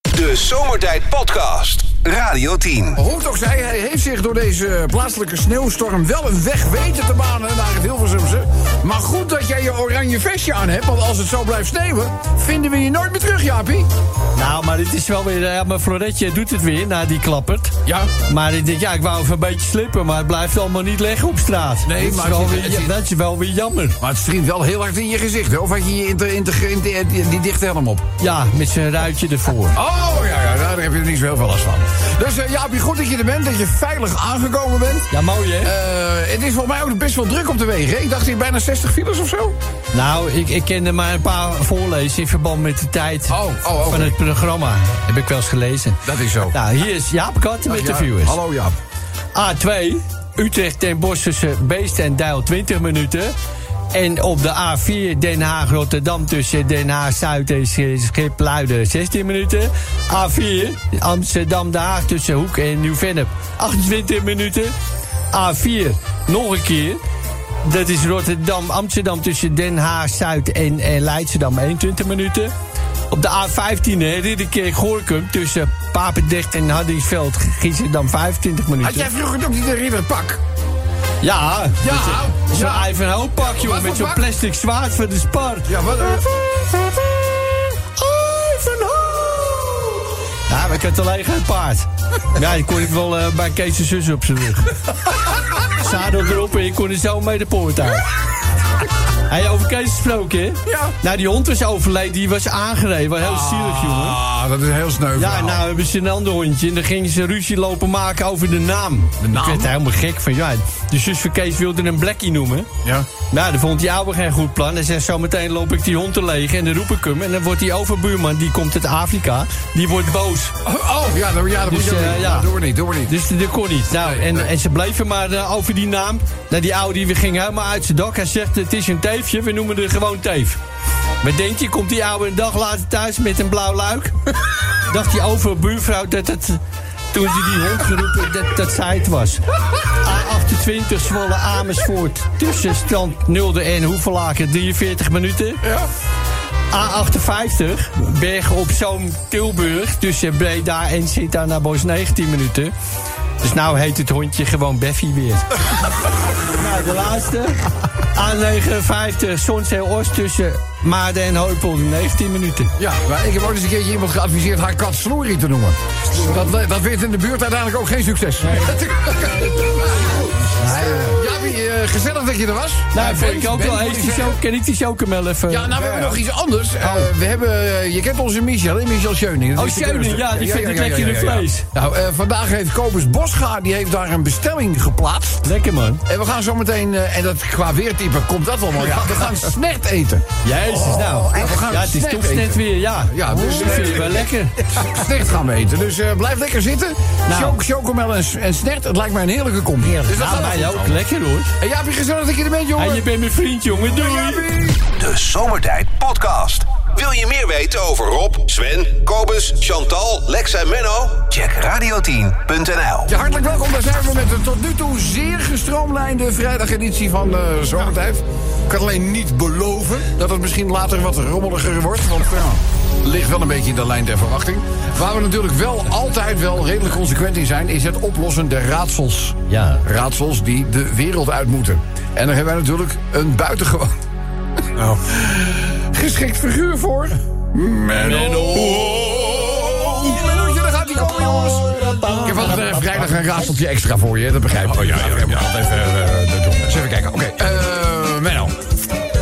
De Zomertijd Podcast. Radio 10. Hoe het ook zij, hij heeft zich door deze plaatselijke sneeuwstorm wel een weg weten te banen naar het Hilversumse. Maar goed dat jij je oranje vestje aan hebt, want als het zo blijft sneeuwen, vinden we je nooit meer terug, Jaapie. Nou, maar dit is wel weer. Ja, maar Floretje doet het weer na die klappert. Ja. Maar ik denk, ja, ik wou even een beetje slippen, maar het blijft allemaal niet liggen op straat. Nee, dat maar is wel het is- weer, het is- ja, dat is wel weer jammer. Maar het striemt wel heel hard in je gezicht, hè? Of had je je inter, inter, inter- die, die dichte helm op? Ja, met zijn ruitje ervoor. Oh, ja, ja, daar heb je er niet zo heel veel last van. Dus eh, Jaapie, goed dat je er bent, dat je veilig aangekomen bent. Ja, mooi hè? Eh, het is voor mij ook best wel druk op de wegen. hè? Ik dacht hier bijna 60 files of zo. Nou, ik, ik kende maar een paar voorlezen in verband met de tijd Oh, oh, oké. van het programma. Heb ik wel eens gelezen. Dat is zo. Nou, hier is Jaap Kat met de Ja, viewers. Hallo Jaap. A2, Utrecht ten Bosch tussen Beest en Dijl 20 minuten. En op de A4 Den Haag-Rotterdam tussen Den Haag-Zuid en Sch- Schipluiden 16 minuten. A4 Amsterdam-Den Haag tussen Hoek en Nieuw-Vennep 28 minuten. A4 nog een keer. Dat is Rotterdam-Amsterdam tussen Den Haag-Zuid en, en Leidschendam 21 minuten. Op de A15 Ridderkerk-Gorkum tussen Papendrecht en Hardingsveld Giessendam 25 minuten. Had jij vroeger ook niet een ridderpak? Ja, Ja, zo'n ja. Ivanhoe pak, Wat jongen, voor met zo'n pak? plastic zwaard van de spar. Ja, wat? eh, Ivanhoe! Ja, maar ik had alleen geen paard. Ja, die kon ik wel eh, bij Kees' zus op zijn rug. Zadel erop en je kon er zo mee de poort uit. Hey, over Kees gesproken, hè? Ja. Nou, die hond was overleden, die was aangereden. Wat heel zielig, jongen. Ah, dat is een heel sneu. Ja, verhaal. nou hebben ze een ander hondje. En dan gingen ze ruzie lopen maken over de naam. De naam? Ik werd er helemaal gek van. Ja, de zus van Kees wilde een Blackie noemen. Ja. Nou, dat vond die oude geen goed plan. Hij zei, zometeen loop ik die hond te leeg en dan roep ik hem. En dan wordt die overbuurman, die komt uit Afrika, die wordt boos. Oh, oh, ja, nou, ja, dat moet Dus, je ook eh, niet. ja. Doe maar niet, doe maar niet. Dus dat kon niet. Nou, Nee, en, nee. en ze bleven maar eh, over die naam. Nou, die oude die ging helemaal uit zijn dak. Hij zegt, het is een teefje, we noemen er gewoon teef. Maar denk je, komt die oude een dag later thuis met een blauw luik? Dacht die overbuurvrouw dat het, toen ze die hond geroepen, dat, dat zij het was. A28 Zwolle Amersfoort, tussen Strand Nulde en Hoevelaken, 43 minuten. Ja. A58, Bergen op Zoom Tilburg, tussen Breda en sint naar Bos 19 minuten. Dus nou heet het hondje gewoon Beffy weer. nou, de laatste. A59, Zonzeel Oost tussen Maarden en Hooipolder 19 minuten. Nou, Ja, maar ik heb ook eens een keertje iemand geadviseerd haar kat Sloerie te noemen. Dat, le- dat werd in de buurt uiteindelijk ook geen succes. Ja, wie, eh, gezellig dat je er was. Nou, Eh, vind ik ook Ben, wel. moet Heeft die zeggen. chocomel- Ken ik die chocomel even? Ja, nou, we hebben nog iets anders. Eh, we hebben, eh, je kent onze Michel, hè? Michel Scheuning. Dat Oh, is de Scheuning, keurster. ja, die vindt het lekkere vlees. Nou, eh, vandaag heeft Kobus Bosga, die heeft daar een bestelling geplaatst. Lekker man. En we gaan zo meteen, eh, en dat qua weertype komt dat wel mooi. We gaan snert eten. Jezus, nou. echt? We gaan ja, het is snert toch net eten. weer, ja. Ja, dus- Dat vind ik wel lekker. Snert gaan we eten. Dus eh, blijf lekker zitten. Nou. Choc- Chocomel en, s- en snert, het lijkt mij een heerlijke combi. Dus dat Nou, gaat mij wel goed ook. komen. Lekker hoor. En Jaapie, gezellig dat je er bent, jongen. En je bent mijn vriend, jongen. Doei. De Zomertijd Podcast. Wil je meer weten over Rob, Sven, Kobus, Chantal, Lex en Menno? Check radio10.nl. Ja, hartelijk welkom. Daar zijn we met de tot nu toe zeer gestroomlijnde vrijdageditie van eh Zomertijd. Ik kan alleen niet beloven dat het misschien later wat rommeliger wordt. Want ja, ligt wel een beetje in de lijn der verwachting. Waar we natuurlijk wel altijd wel redelijk consequent in zijn... is het oplossen der raadsels. Ja. Raadsels die de wereld uit moeten. En daar hebben wij natuurlijk een buitengewoon... geschikt figuur voor. Menno. Mennootje, daar gaat hij komen, jongens. Ik heb altijd eh, vrijdag een raadseltje extra voor je, dat begrijp ik. Oh ja, eh, ja, Even, Eens even kijken. Oké, Eh Menno. We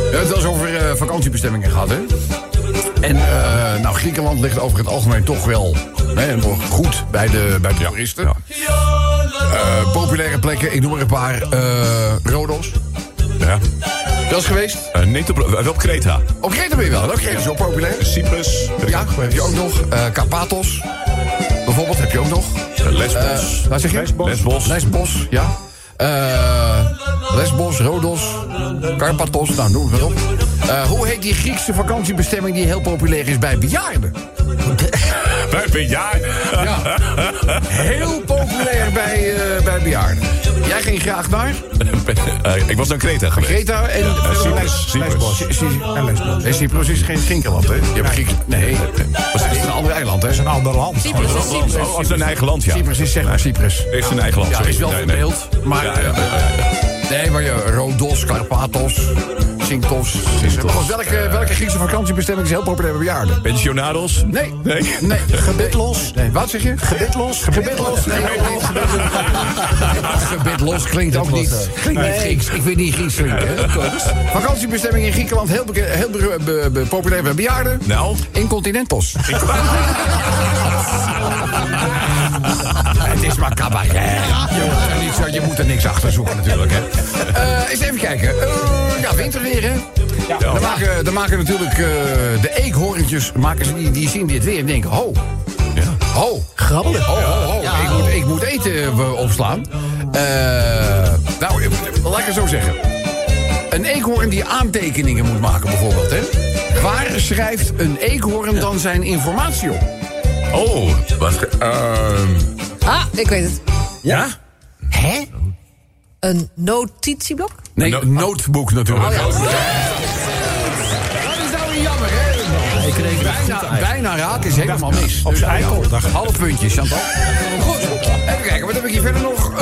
hebben het wel eens over eh, vakantiebestemmingen gehad, hè? En eh, nou, Griekenland ligt over het algemeen toch wel hè, nog goed bij de, bij de toeristen. Eh, populaire plekken, ik noem er een paar. eh Rodos, Ja. dat is geweest. Eh, niet op, wel op Kreta. Op Kreta ben je wel, hè? op Kreta is wel populair. Cyprus. ben ik Ja, ook geweest. heb je ook nog. eh Karpathos. Bijvoorbeeld, heb je ook nog. Eh, Lesbos. Waar zeg je? Lesbos. Lesbos. Lesbos, ja. Eh, Lesbos, Rodos, Karpathos, nou noem het maar op. Eh, hoe heet die Griekse vakantiebestemming die heel populair is bij bejaarden? Wij zijn ja. Ja. Heel populair bij, eh, bij bejaarden. Jij ging graag naar Eh, ik was naar Creta geweest. Creta en Ja, eh, Cyprus. Lesbos. Cyprus. En Lesbos. En Cyprus is geen Griekenland, hè? Je hebt Griek- Nee, dat is een ander eiland, hè? Een ander land. Cyprus is Cyprus. Oh, het is een eigen land, ja. Cyprus is zeg maar Cyprus. Heeft zijn eigen land. Ja, sorry. is wel Nee, een nee. beeld, maar... Ja, ja, ja, ja, ja. Nee, maar je Rodos, Karpathos, Sintos. Maar Welke, welke Griekse vakantiebestemming is heel populair bij bejaarden? Pensionados? Nee. Nee. Nee. Gebitlos. Nee, wat zeg je? Gebitlos. Gebitlos? Nee, Gebitlos klinkt ook niet. Klinkt niet Grieks. Ik weet niet Grieks klinken. hè, Kobus? Vakantiebestemming in Griekenland, heel, beke- heel be- be- be- populair bij bejaarden. Nou? Incontinentos. Het is maar cabaret. Je, hoeft er niet zo, je moet er niks achter zoeken natuurlijk. Hè. Eh, eens even kijken. Eh, ja, winterweer hè. Dan, maken, dan maken natuurlijk eh, de eekhoorntjes, maken ze, die, die zien dit weer en denken, ho, ho. Grabbelen. Ho, ho, ho. Ik, moet, ik moet eten eh, opslaan. Eh, nou, eh, laat ik het zo zeggen. Een eekhoorn die aantekeningen moet maken, bijvoorbeeld. Hè? Waar schrijft een eekhoorn dan zijn informatie op? Oh, wat... ehm, Ah, ik weet het. ja? Hè? Een notitieblok? Nee, Oh, No- een notebook natuurlijk. ja. Dat is nou weer jammer, hè? Ik reken het goed Bijna, uit. bijna raak is helemaal mis. Op zijn Dus, eikel. ja, Half puntje, Chantal. Goed, even kijken, wat heb ik hier verder nog? Eh,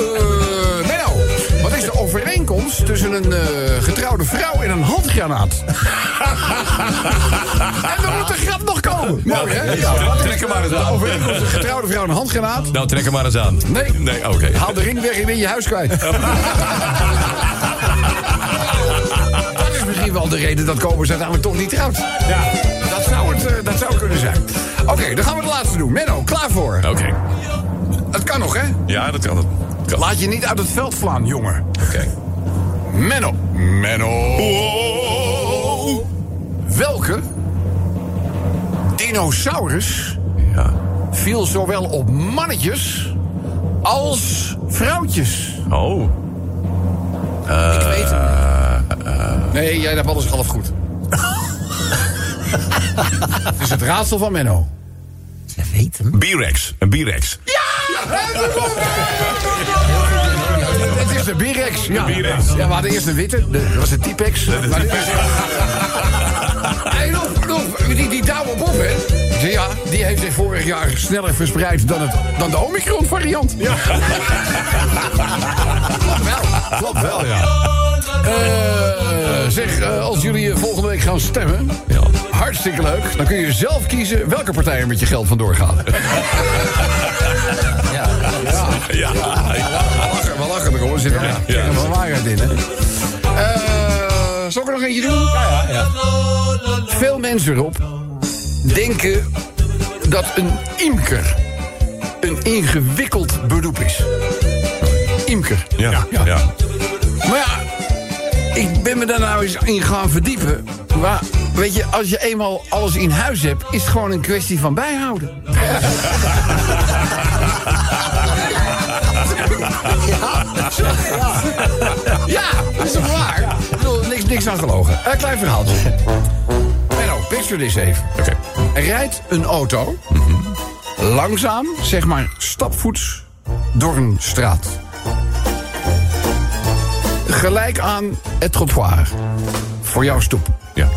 Menno, wat is de overeenkomst tussen een eh, getrouwde vrouw en een handgranaat? en dan moet de grap nog komen. Mooi, hè? Ja, wat is Trek hem maar eens de aan. overeenkomst tussen een getrouwde vrouw en een handgranaat? Nou, trek hem maar eens aan. Nee. Nee, oké. Haal de ring weg en ben je je huis kwijt. dat is misschien wel de reden dat Kobus uiteindelijk toch niet trouwt. Ja. Dat zou, het, eh, dat zou kunnen zijn. Oké, dan gaan we de laatste doen. Menno, klaar voor. Oké. Het kan nog, hè? Ja, dat kan. Dat kan. Laat je niet uit het veld slaan, jongen. Oké. Menno. Menno. Welke dinosaurus Ja. viel zowel op mannetjes als vrouwtjes? Oh. Ik weet het. Nee, jij hebt alles half goed. het is het raadsel van Menno. Ze weten. B-Rex. Een B-Rex. Het is de Birex. Ja. Birex. ja, we hadden eerst een witte. de- Dat was de T-Pex. Maar nu is- Hey, Lof, Lof, die, die Douwe Bob, hè? Ik zei, Ja, die heeft zich vorig jaar sneller verspreid dan, het, dan de Omicron-variant. Ja. klopt wel. Klopt wel, ja. Eh, zeg, eh, als jullie eh, volgende week gaan stemmen... Ja. Hartstikke leuk. Dan kun je zelf kiezen welke partij er met je geld vandoor gaat. Ja. We lachen, we lachen erom. Er zit wel ja. ja, wel waarheid in, hè? Eh, zal ik er nog eentje doen? Veel mensen, Rob, denken dat een imker een ingewikkeld beroep is. Imker. Ja. Ja. Ja. Maar ja, ik ben me daar nou eens in gaan verdiepen. Maar weet je, als je eenmaal alles in huis hebt, is het gewoon een kwestie van bijhouden. ja, dat is toch waar? Ik bedoel, niks, niks aan gelogen. Een klein verhaaltje. Menno, picture this even. Oké. Er rijdt een auto langzaam, zeg maar stapvoets, door een straat. Gelijk aan het trottoir. Voor jouw stoep. Ja.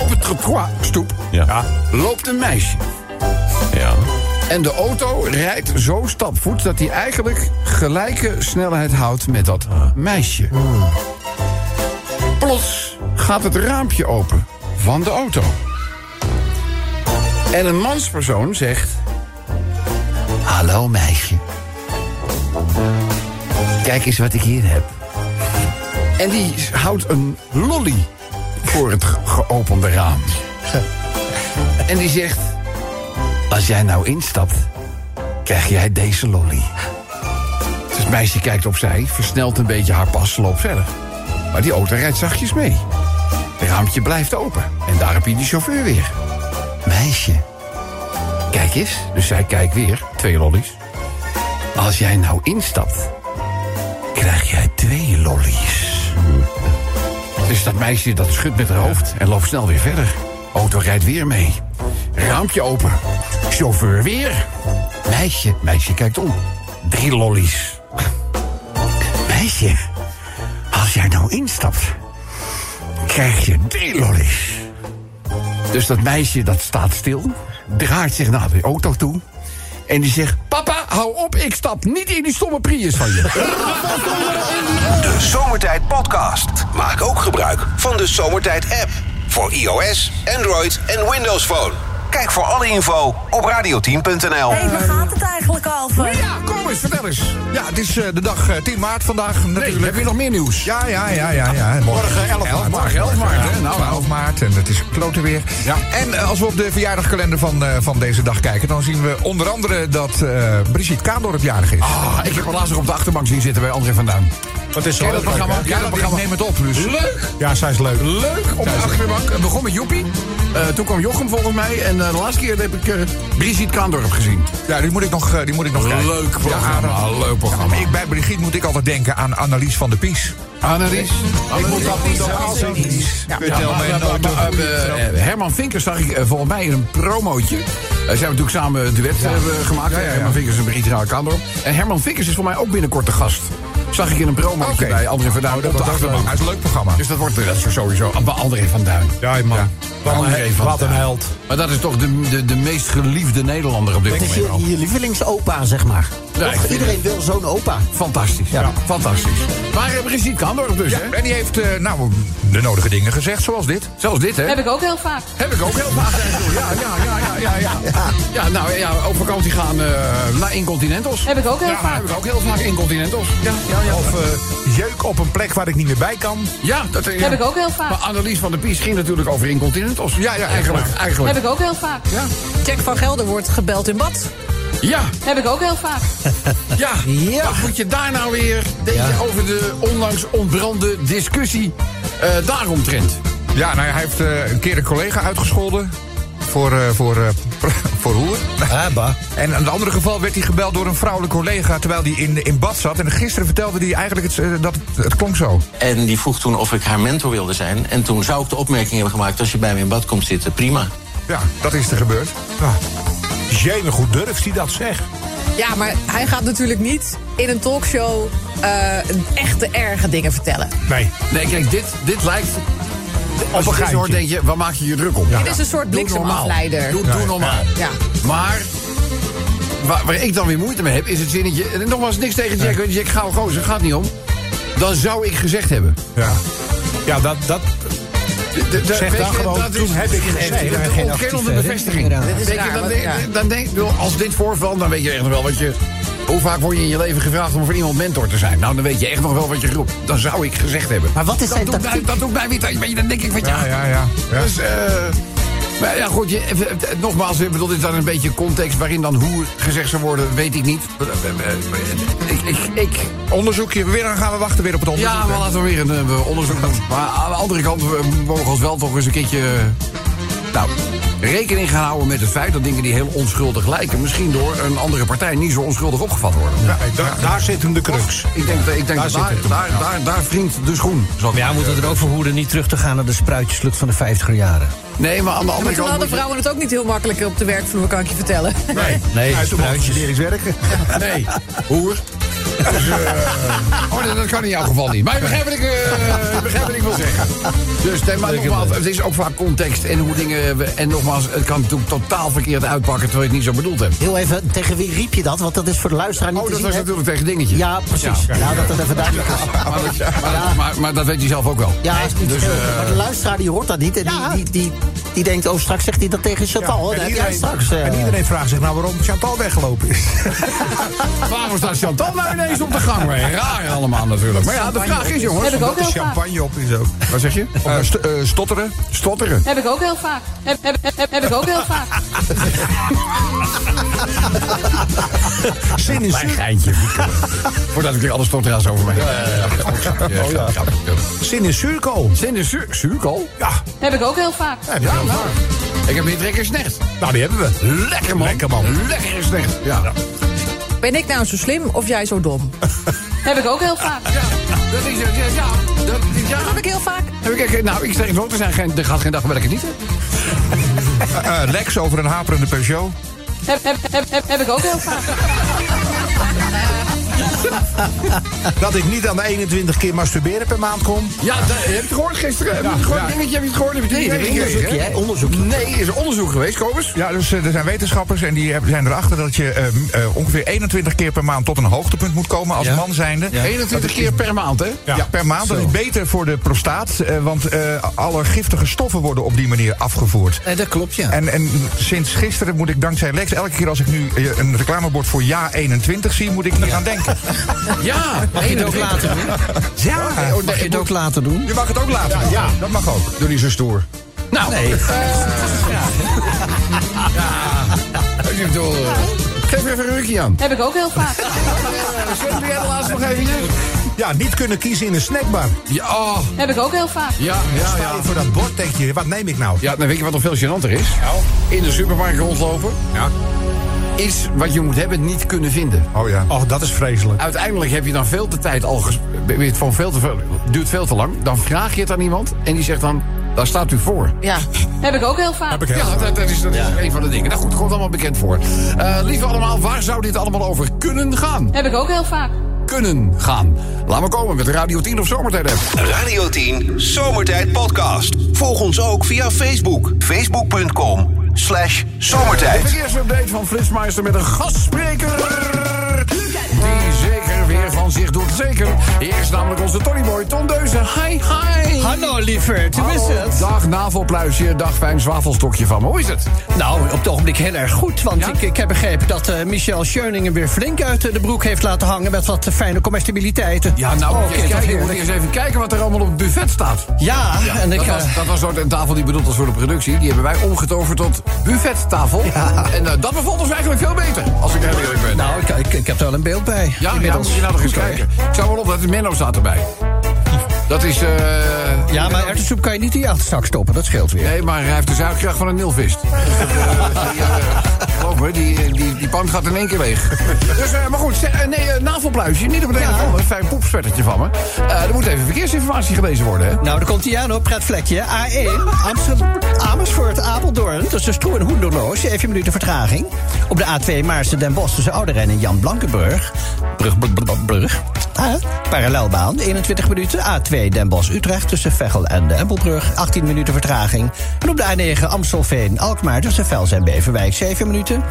Op het trottoirstoep Ja. loopt een meisje. Ja. En de auto rijdt zo stapvoets dat hij eigenlijk gelijke snelheid houdt met dat meisje. Plots gaat het raampje open van de auto. En een manspersoon zegt: Hallo meisje. Kijk eens wat ik hier heb. En die houdt een lolly voor het ge- geopende raam. En die zegt: als jij nou instapt, krijg jij deze lolly. Dus het meisje kijkt opzij, versnelt een beetje haar pas, loopt verder. Maar die auto rijdt zachtjes mee. Het raampje blijft open. En daar heb je die chauffeur weer. Meisje, kijk eens. Dus zij kijkt weer, twee lollies. Als jij nou instapt, krijg jij twee lollies. Dus dat meisje dat schudt met haar hoofd en loopt snel weer verder. Auto rijdt weer mee. Raampje open. Chauffeur weer. Meisje, meisje kijkt om. Drie lollies. Meisje, als jij nou instapt, krijg je drie lollies. Dus dat meisje dat staat stil, draait zich naar de auto toe. En die zegt: Papa, hou op, ik stap niet in die stomme Prius van je. De Zomertijd Podcast. Maak ook gebruik van de Zomertijd app. Voor iOS, Android en Windows Phone. Kijk voor alle info op radioteam.nl. Hé, waar gaat het eigenlijk over? ja, kom eens, vertel eens. Ja, het is eh, de dag eh, 10 maart vandaag Nee, natuurlijk. heb je nog meer nieuws? Ja, ja, ja, ja. ja. Morgen 11 maart. Morgen 11 maart, hè? Ja, Nou, 12 maart en het is klote weer. Ja. En eh, als we op de verjaardagkalender van, eh, van deze dag kijken... dan zien we onder andere dat eh Brigitte Kaandorp jarig is. Ah, ik heb haar laatst nog op de achterbank zien zitten bij André van Duin. Wat is Ken je zo? dat programma? Ja, dat programma neem het op, dus. Leuk! Ja, zij is leuk. Leuk op de achterbank. Het begon met Joepie. Eh, toen kwam Jochem volgens mij. En eh, de laatste keer heb ik eh, Brigitte Kaandorp gezien. Ja, die moet ik nog, eh, die moet ik nog kijken. Leuk programma. Ja, dat- leuk Ja, programma. maar ik, bij Brigitte moet ik altijd denken aan Annelies van de Pies. Annelies. Ik moet dat niet Ja, eh, Herman Vinkers zag ik eh, volgens mij in een promootje. Eh, Ze hebben natuurlijk samen een duet eh, gemaakt. hè, ja, ja. Herman Vinkers en Brigitte Rauw Kaandorp. En Herman Vinkers is voor mij ook binnenkort de gast. Zag ik in een promootje Oké. bij André van Duin op de achterbank. Het is een leuk programma. Dus dat wordt eh, dat is sowieso bij André van Duin. Ja, man. Wat, André een, van wat een Duin. held. Maar dat is toch de, de, de meest geliefde Nederlander op dit Het is moment. al. je, je lievelingsopa, zeg maar. Ja, Toch? ik- Iedereen wil zo'n opa. Fantastisch. Ja. Fantastisch. Maar eh, Brigitte Kaandorp dus, hè? En die heeft eh, nou, de nodige dingen gezegd, zoals dit. Zelfs dit, hè? Heb ik ook heel vaak. Heb ik ook heel vaak. Ja, ja, ja, ja, ja, ja. Ja, nou ja, op vakantie gaan eh, naar Incontinentals. Heb ik ook heel ja, vaak. Heb ik ook heel vaak Incontinentals. Ja, ja, ja. Of eh, jeuk op een plek waar ik niet meer bij kan. ja dat eh, ja. Heb ik ook heel vaak. Maar Annelies van der Pies ging natuurlijk over Incontinentals. Ja, ja, eigenlijk. eigenlijk. Heb ik ook heel vaak. Jack van Gelder wordt gebeld in bad. Ja, Heb ik ook heel vaak. ja. Ja. Wat moet je daar nou weer deze over de onlangs ontbrande discussie eh daaromtrent? Ja, nou, ja, hij heeft eh, een keer een collega uitgescholden. Voor, eh, voor, eh, voor hoer. Ah, Abba. En in een ander geval werd hij gebeld door een vrouwelijke collega... terwijl hij in, in bad zat. En gisteren vertelde hij eigenlijk het, eh, dat het, het klonk zo. En die vroeg toen of ik haar mentor wilde zijn. En toen zou ik de opmerking hebben gemaakt... als je bij me in bad komt zitten, prima. Ja, dat is er gebeurd. Jemen, goed durft hij dat zeg. Ja, maar hij gaat natuurlijk niet in een talkshow eh, echte erge dingen vertellen. Nee. Nee, kijk, dit, dit lijkt... Als je dit geintje. hoort, denk je, waar maak je je druk om? Dit is een soort Doe bliksemafleider. normaal. Doe, doe normaal. Ja. Maar waar, waar ik dan weer moeite mee heb, is het zinnetje... En nogmaals, niks tegen Jack. want Jack, gauw gozer, gaat niet om. Dan zou ik gezegd hebben. Ja, ja dat, dat, Zeg dan gewoon, toen heb ik gezegd. echt Ja, een geen ontkennende actieve bevestiging. herinnering eraan. Weet je, Ja, dan wat- denk- ja. Dan denk ik, als dit voorval, dan weet je echt nog wel wat je... Hoe vaak word je in je leven gevraagd om voor iemand mentor te zijn? Nou, dan weet je echt nog wel wat je roept. Dan zou ik gezegd hebben. Maar wat is dat zijn doet mij, tactiek? Dat doet mij weer thuis. Weet je, Dan denk ik van ja, Ja, ja, ja. ja. dus, eh, maar ja, goed, je, eh, eh, nogmaals, ik bedoel, dit is dan een beetje context waarin dan hoe gezegd zou worden, weet ik niet. Eh, eh, eh, Ik, ik, ik, Onderzoekje, weer dan gaan we wachten weer op het onderzoek. ja, maar laten we weer een eh, onderzoek doen. Maar aan de andere kant, we mogen ons wel toch eens een keertje... eh, Nou, rekening gaan houden met het feit dat dingen die heel onschuldig lijken... misschien door een andere partij niet zo onschuldig opgevat worden. Hey, daar, daar zit hem de crux. Ik denk, dat- ik denk Daar daar, zit daar, het hem. daar, daar, wringt de schoen. zal ik Maar ja, we maar moeten er ook voor hoeden niet terug te gaan naar de spruitjeslucht van de 50er jaren. zeggen. Nee, maar aan de Maar andere toen kant... hadden moet je- vrouwen het ook niet heel makkelijk op de werkvloer, kan ik je Nou vertellen. Nee, Nee, uit de spruitjes. leren werken. Nee, hoer. Dus, eh, oh, nee, dat kan in jouw geval niet. Maar je begrijpt wat ik, eh, begrijpt wat ik wil zeggen. Dus nee, maar nogmaals, het is ook vaak context en hoe dingen... we- En nogmaals, het kan natuurlijk totaal verkeerd uitpakken... terwijl je het niet zo bedoeld hebt. Heel even, tegen wie riep je dat? Want dat is voor de luisteraar niet Oh, te dat zien, was hè? natuurlijk tegen dingetje. Ja, precies. Ja, dat dat even duidelijk is. Maar, dat- maar, dat- maar, maar dat weet hij zelf ook wel. Ja, is niet Dus, veel. eh, maar de luisteraar die hoort dat niet. En die, die, die, die denkt, oh, straks zegt hij dat tegen Chantal. hoor. en, Dan heb jij iedereen, straks... eh, en iedereen vraagt zich nou waarom Chantal weggelopen is. Waarom staat Chantal nou ineens op de gang? Maar Raar allemaal natuurlijk. Maar ja, de vraag is, jongens... Heb ik ook heel vaak. Champagne op is ook. Wat zeg je? Eh, st- eh, stotteren. Stotteren. Heb ik ook heel vaak. Heb, heb, heb, heb, heb ik ook heel vaak. Zin in Mijn geintje. Voordat ik weer alles stotteraars over mij. Ja, ja, ja. Zin in zuurkool. Zijn er zuur, zuurkool? Ja, Heb ik ook heel vaak. heb je wel vaak. Ik heb meer trek in snecht. Nou, die hebben we. Lekker man. Lekker, man. Lekker in snecht. Ja. Ben ik nou zo slim of jij zo dom? Heb ik ook heel vaak. Dat is het. Ja. ja. Dat is ja. Dat heb ik heel vaak. Heb ik, nou, ik zeg het ook, er, zijn geen, er gaat geen dag waar ik het niet heb. Eh, eh, Lex over een haperende Peugeot. heb, heb, heb, heb, heb ik ook heel vaak. Dat ik niet aan de 21 keer masturberen per maand kom. Ja, dat, heb je het gehoord gisteren? heb je het gehoord? Dingetje, heb je het gehoord? Heb je het Nee, niet dat is gekregen? onderzoekje, hè? Onderzoekje. Nee, is er onderzoek geweest, Kobus? Ja, dus eh, er zijn wetenschappers en die hebben- zijn erachter dat je eh, m- eh, ongeveer 21 keer per maand tot een hoogtepunt moet komen als man zijnde. Ja. 21 keer per maand, hè? Ja, per maand. Dat is beter voor de prostaat, eh, want eh, alle giftige stoffen worden op die manier afgevoerd. Eh, dat klopt, ja. En, en sinds gisteren moet ik dankzij Lex, elke keer als ik nu eh, een reclamebord voor Ja 21 zie, moet ik hier aan denken. Ja, Mag je het ook laten doen? Ja, Oh, Mag je het ook laten doen? je mag het ook laten. Ja, ja. dat mag ook. Doe die zo stoer. Nou, Nee. ik bedoel, eh, geef er even een rukje aan. Heb ik ook heel vaak. Zet jij de laatste nog eventjes? Ja, niet kunnen kiezen in een snackbar. Ja, oh, Heb ik ook heel vaak. ja, ja, Sta ja. je voor dat bord, denk je, wat neem ik nou? Ja, nou weet je wat nog veel gênanter is? In de supermarkt rondlopen. Ja. Iets wat je moet hebben niet kunnen vinden. Oh ja. Oh, dat is vreselijk. Uiteindelijk heb je dan veel te tijd al... ges- weet Van veel te veel, duurt veel te lang. Dan vraag je het aan iemand en die zegt dan... Daar staat u voor. Ja. Heb ik ook heel vaak. Ja, dat, dat is, dat is een van de dingen. Nou goed, komt allemaal bekend voor. Eh lieve allemaal, waar zou dit allemaal over kunnen gaan? Heb ik ook heel vaak. Kunnen gaan. Laat me komen met Radio 10 of Zomertijd app. Radio 10 Zomertijd Podcast. Volg ons ook via Facebook. Facebook.com slash De zomertijd. verkeersupdate van Flitsmeister met een gastspreker. Die zeker weer van zich doet zeker. Hier is namelijk onze Tonyboy Tom Deuzen. Hi, hi. Hallo lieverd, hoe is Hallo, het? Dag navelpluisje, dag fijn zwavelstokje van me. Hoe is het? Nou, op het ogenblik heel erg goed. Want ik, ik heb begrepen dat eh, Michel Scheuningen weer flink uit eh, de broek heeft laten hangen... met wat eh, fijne comestibiliteiten. Oh, Ja, nou, moet je eens kijk, kijken, moet heerlijk. je eens even kijken wat er allemaal op het buffet staat. Ja, en ik... dat, eh, was, dat was ook een tafel die bedoeld was voor de productie. Die hebben wij omgetoverd tot buffettafel. En eh, dat bevalt ons eigenlijk veel beter, als ik heel eerlijk ben. nou, ik, ik, ik heb er wel een beeld bij. ja, ja, inmiddels. moet je nou nog eens kijken. Ik zou wel op dat het Menno staat erbij. Dat is... eh, Ja, maar erwtensoep kan je niet in je achterzak stoppen, dat scheelt weer. Nee, maar hij heeft de zuigkracht van een nilvist. Dus, eh, die, eh, Geloof me, die, die, die pan gaat in één keer leeg. Dus, eh, maar goed, eh, nee, eh, navelpluisje. Niet op het een of ander. Fijn poepspettertje van me. Eh, er moet even verkeersinformatie gelezen worden, hè? Nou, daar komt hij aan hoor, pretplekje. A1, Amsterdam, Amersfoort, Apeldoorn. Tussen Stroe en Hoenderloos, 7 minuten vertraging. Op de A2 Maarsen Den Bosch tussen Ouderijn en Jan Blankenburg. Brug, brug, brug, brug. Ah, parallelbaan, 21 minuten. A2 Den Bosch-Utrecht tussen Veghel en de Empelbrug, 18 minuten vertraging. En op de A9 Amstelveen-Alkmaar tussen Vels en Beverwijk, 7 minuten.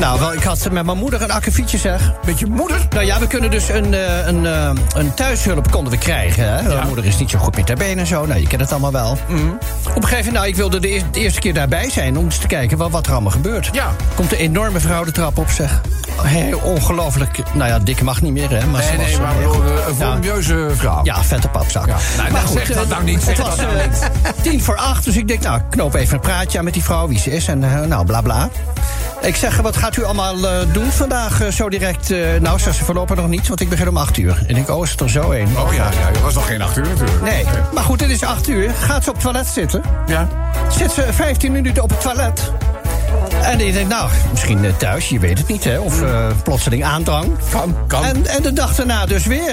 Nou, wel, ik had met mijn moeder een akkefietje, zeg. Met je moeder? Nou ja, we kunnen dus een, eh, een, eh, een thuishulp konden we krijgen. Hè? Mijn moeder is niet zo goed met haar benen en zo. Nou, je kent het allemaal wel. Mhm. Op een gegeven moment, nou, ik wilde de, eer- de eerste keer daarbij zijn... om eens te kijken wat, wat er allemaal gebeurt. Ja. Komt een enorme vrouw de trap op, zeg. Hé, ongelooflijk. Nou ja, dik mag niet meer, hè. Maar Nee, ze was, nee, eh, maar heel bedoel, goed. eh, een volumieuze vrouw. Ja, vette papzak. Ja. Nou, nou, zeg dat eh, nou niet, zeg Het was dat nou eh, tien voor acht, dus ik denk, nou, ik knoop even een praatje aan met die vrouw, wie ze is en eh, nou, bla bla. Ik zeg, eh, wat gaat u allemaal eh, doen vandaag eh, zo direct? eh, nou, zegt ze voorlopig nog niet, want ik begin om acht uur. En ik denk, oh, is het er zo een? Oh ja, ja, dat was nog geen acht uur natuurlijk. Nee, maar goed, het is acht uur. Gaat ze op het toilet zitten? Ja. Zit ze 15 minuten op het toilet? En ik denk, nou, misschien eh, thuis, je weet het niet, hè? Of eh, plotseling aandrang. Kan, kan. En, en de dag daarna dus weer.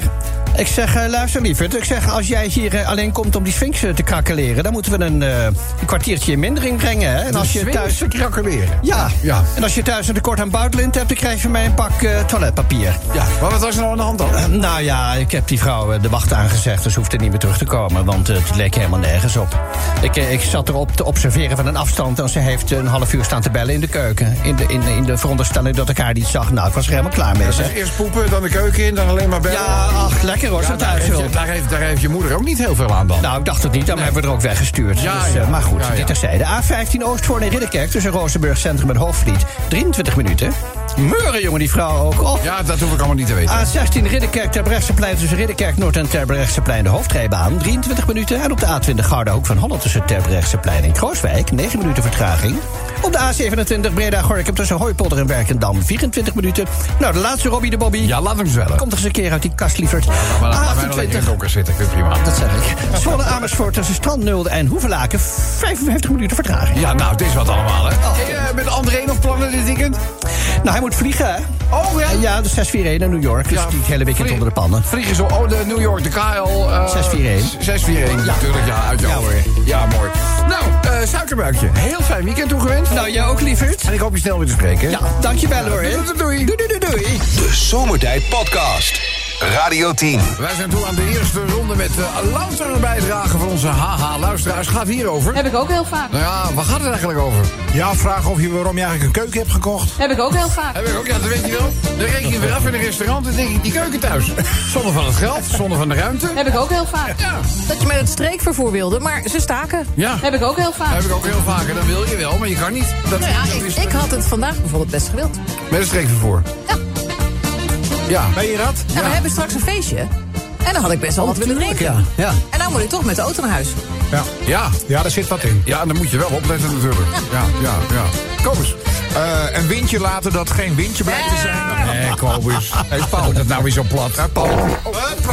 Ik zeg, eh, luister lieverd, ik zeg, als jij hier eh, alleen komt om die sphinx eh, te krakeleren... dan moeten we een, eh, een kwartiertje in mindering brengen, hè? En als je thuis... te krakeleren. Ja. Ja. en als je thuis een tekort aan buitenlint hebt... dan krijg je van mij een pak eh, toiletpapier. Ja, maar wat was er nou aan de hand dan? Eh, Nou ja, ik heb die vrouw eh, de wacht aangezegd, dus hoeft er niet meer terug te komen. Want eh, het leek helemaal nergens op. Ik, eh, ik zat erop te observeren van een afstand. En ze heeft een half uur staan te bellen in de keuken. In de, in, de- in de veronderstelling dat ik haar niet zag. Nou, ik was er helemaal klaar mee. Zeg. Eerst poepen, dan de keuken in, dan alleen maar bellen. Ja, ach, lekker hoor, zo'n daar, heeft je, thuishulp. daar, heeft, daar heeft je moeder ook niet heel veel aan dan. Nou, ik dacht het niet, dan hebben we er ook weggestuurd. Ja, Dus, eh, ja. maar goed, Ja, ja. dit terzijde. A15 Oostvoorn en Ridderkerk tussen Rozenburg Centrum en Hoofdvliet. 23 minuten. Meuren, jongen, die vrouw ook. Oh, Ja, dat hoef ik allemaal niet te weten. A16 Ridderkerk Terbrechtseplein tussen Ridderkerk Noord en Terbrechtseplein de hoofdrijbaan 23 minuten. En op de A20 Gouda Hoek van Holland tussen Terbrechtseplein en Krooswijk 9 minuten vertraging. Op de A27 Breda Gorkum tussen Hooipolder en Werkendam 24 minuten. Nou, de laatste Robbie de Bobby. Ja, laat hem zwellen. Ah, Kom toch eens een keer uit die kast, lieverd. maar laat, laat mij nog lekker in A28 de donker zitten, ik vind het prima. dat zeg ik. Zwolle Amersfoort tussen Strandnulde en Hoevelaken 55 minuten vertraging. Ja, nou, het is wat allemaal, hè. Oh. Hey, eh, met André nog plannen dit weekend? Nou, hij moet vliegen, hè? Oh ja? Ja, de 641 naar New York. Dus die hele weekend onder de pannen. Vliegen zo, oh, de New York, de KL... eh, 641. 641, natuurlijk, ja, uit jou. Ja, ja mooi. Nou, eh suikerbuikje, heel fijn weekend toegewenst. Nou, jij ook, lieverd. En ik hoop je snel weer te spreken. Ja, dankjewel hoor. hè. Doei, doei, doei. Doei, doei, doei. De Zomertijd Podcast. Radio 10. Wij zijn toe aan de eerste ronde met eh louter bijdragen van onze haha-luisteraars. Gaat hierover? Heb ik ook heel vaak. Nou ja, waar gaat het eigenlijk over? Ja, vragen of je waarom je eigenlijk een keuken hebt gekocht. Heb ik ook heel vaak. Heb ik ook, ja, dat weet je wel. Dan reken je weer af in een restaurant en denk ik, die keuken thuis. Zonde van het geld, zonde van de ruimte. Heb ik ook heel vaak. Ja, Dat je met het streekvervoer wilde, maar ze staken. ja. Heb ik ook heel vaak. Heb ik ook heel vaak. En dan wil je wel, maar je kan niet. Dat Nou ja, ik, is ik had het vandaag bijvoorbeeld best gewild. Nou, met een streekvervoer. Ja. Ja. Oh, Ben je dat? Nou, we hebben straks een feestje. En dan had ik best wel wat willen drinken. Ja, ja. En dan moet ik toch met de auto naar huis. Ja. Ja. Ja, daar zit wat in. Ja, dan moet je wel opletten natuurlijk. Ja, ja, ja. Kobus. Eh, een windje laten dat geen windje blijkt te zijn. Hé, Kobus. Hé, Paul. Dat nou weer zo plat. Hé, Paul.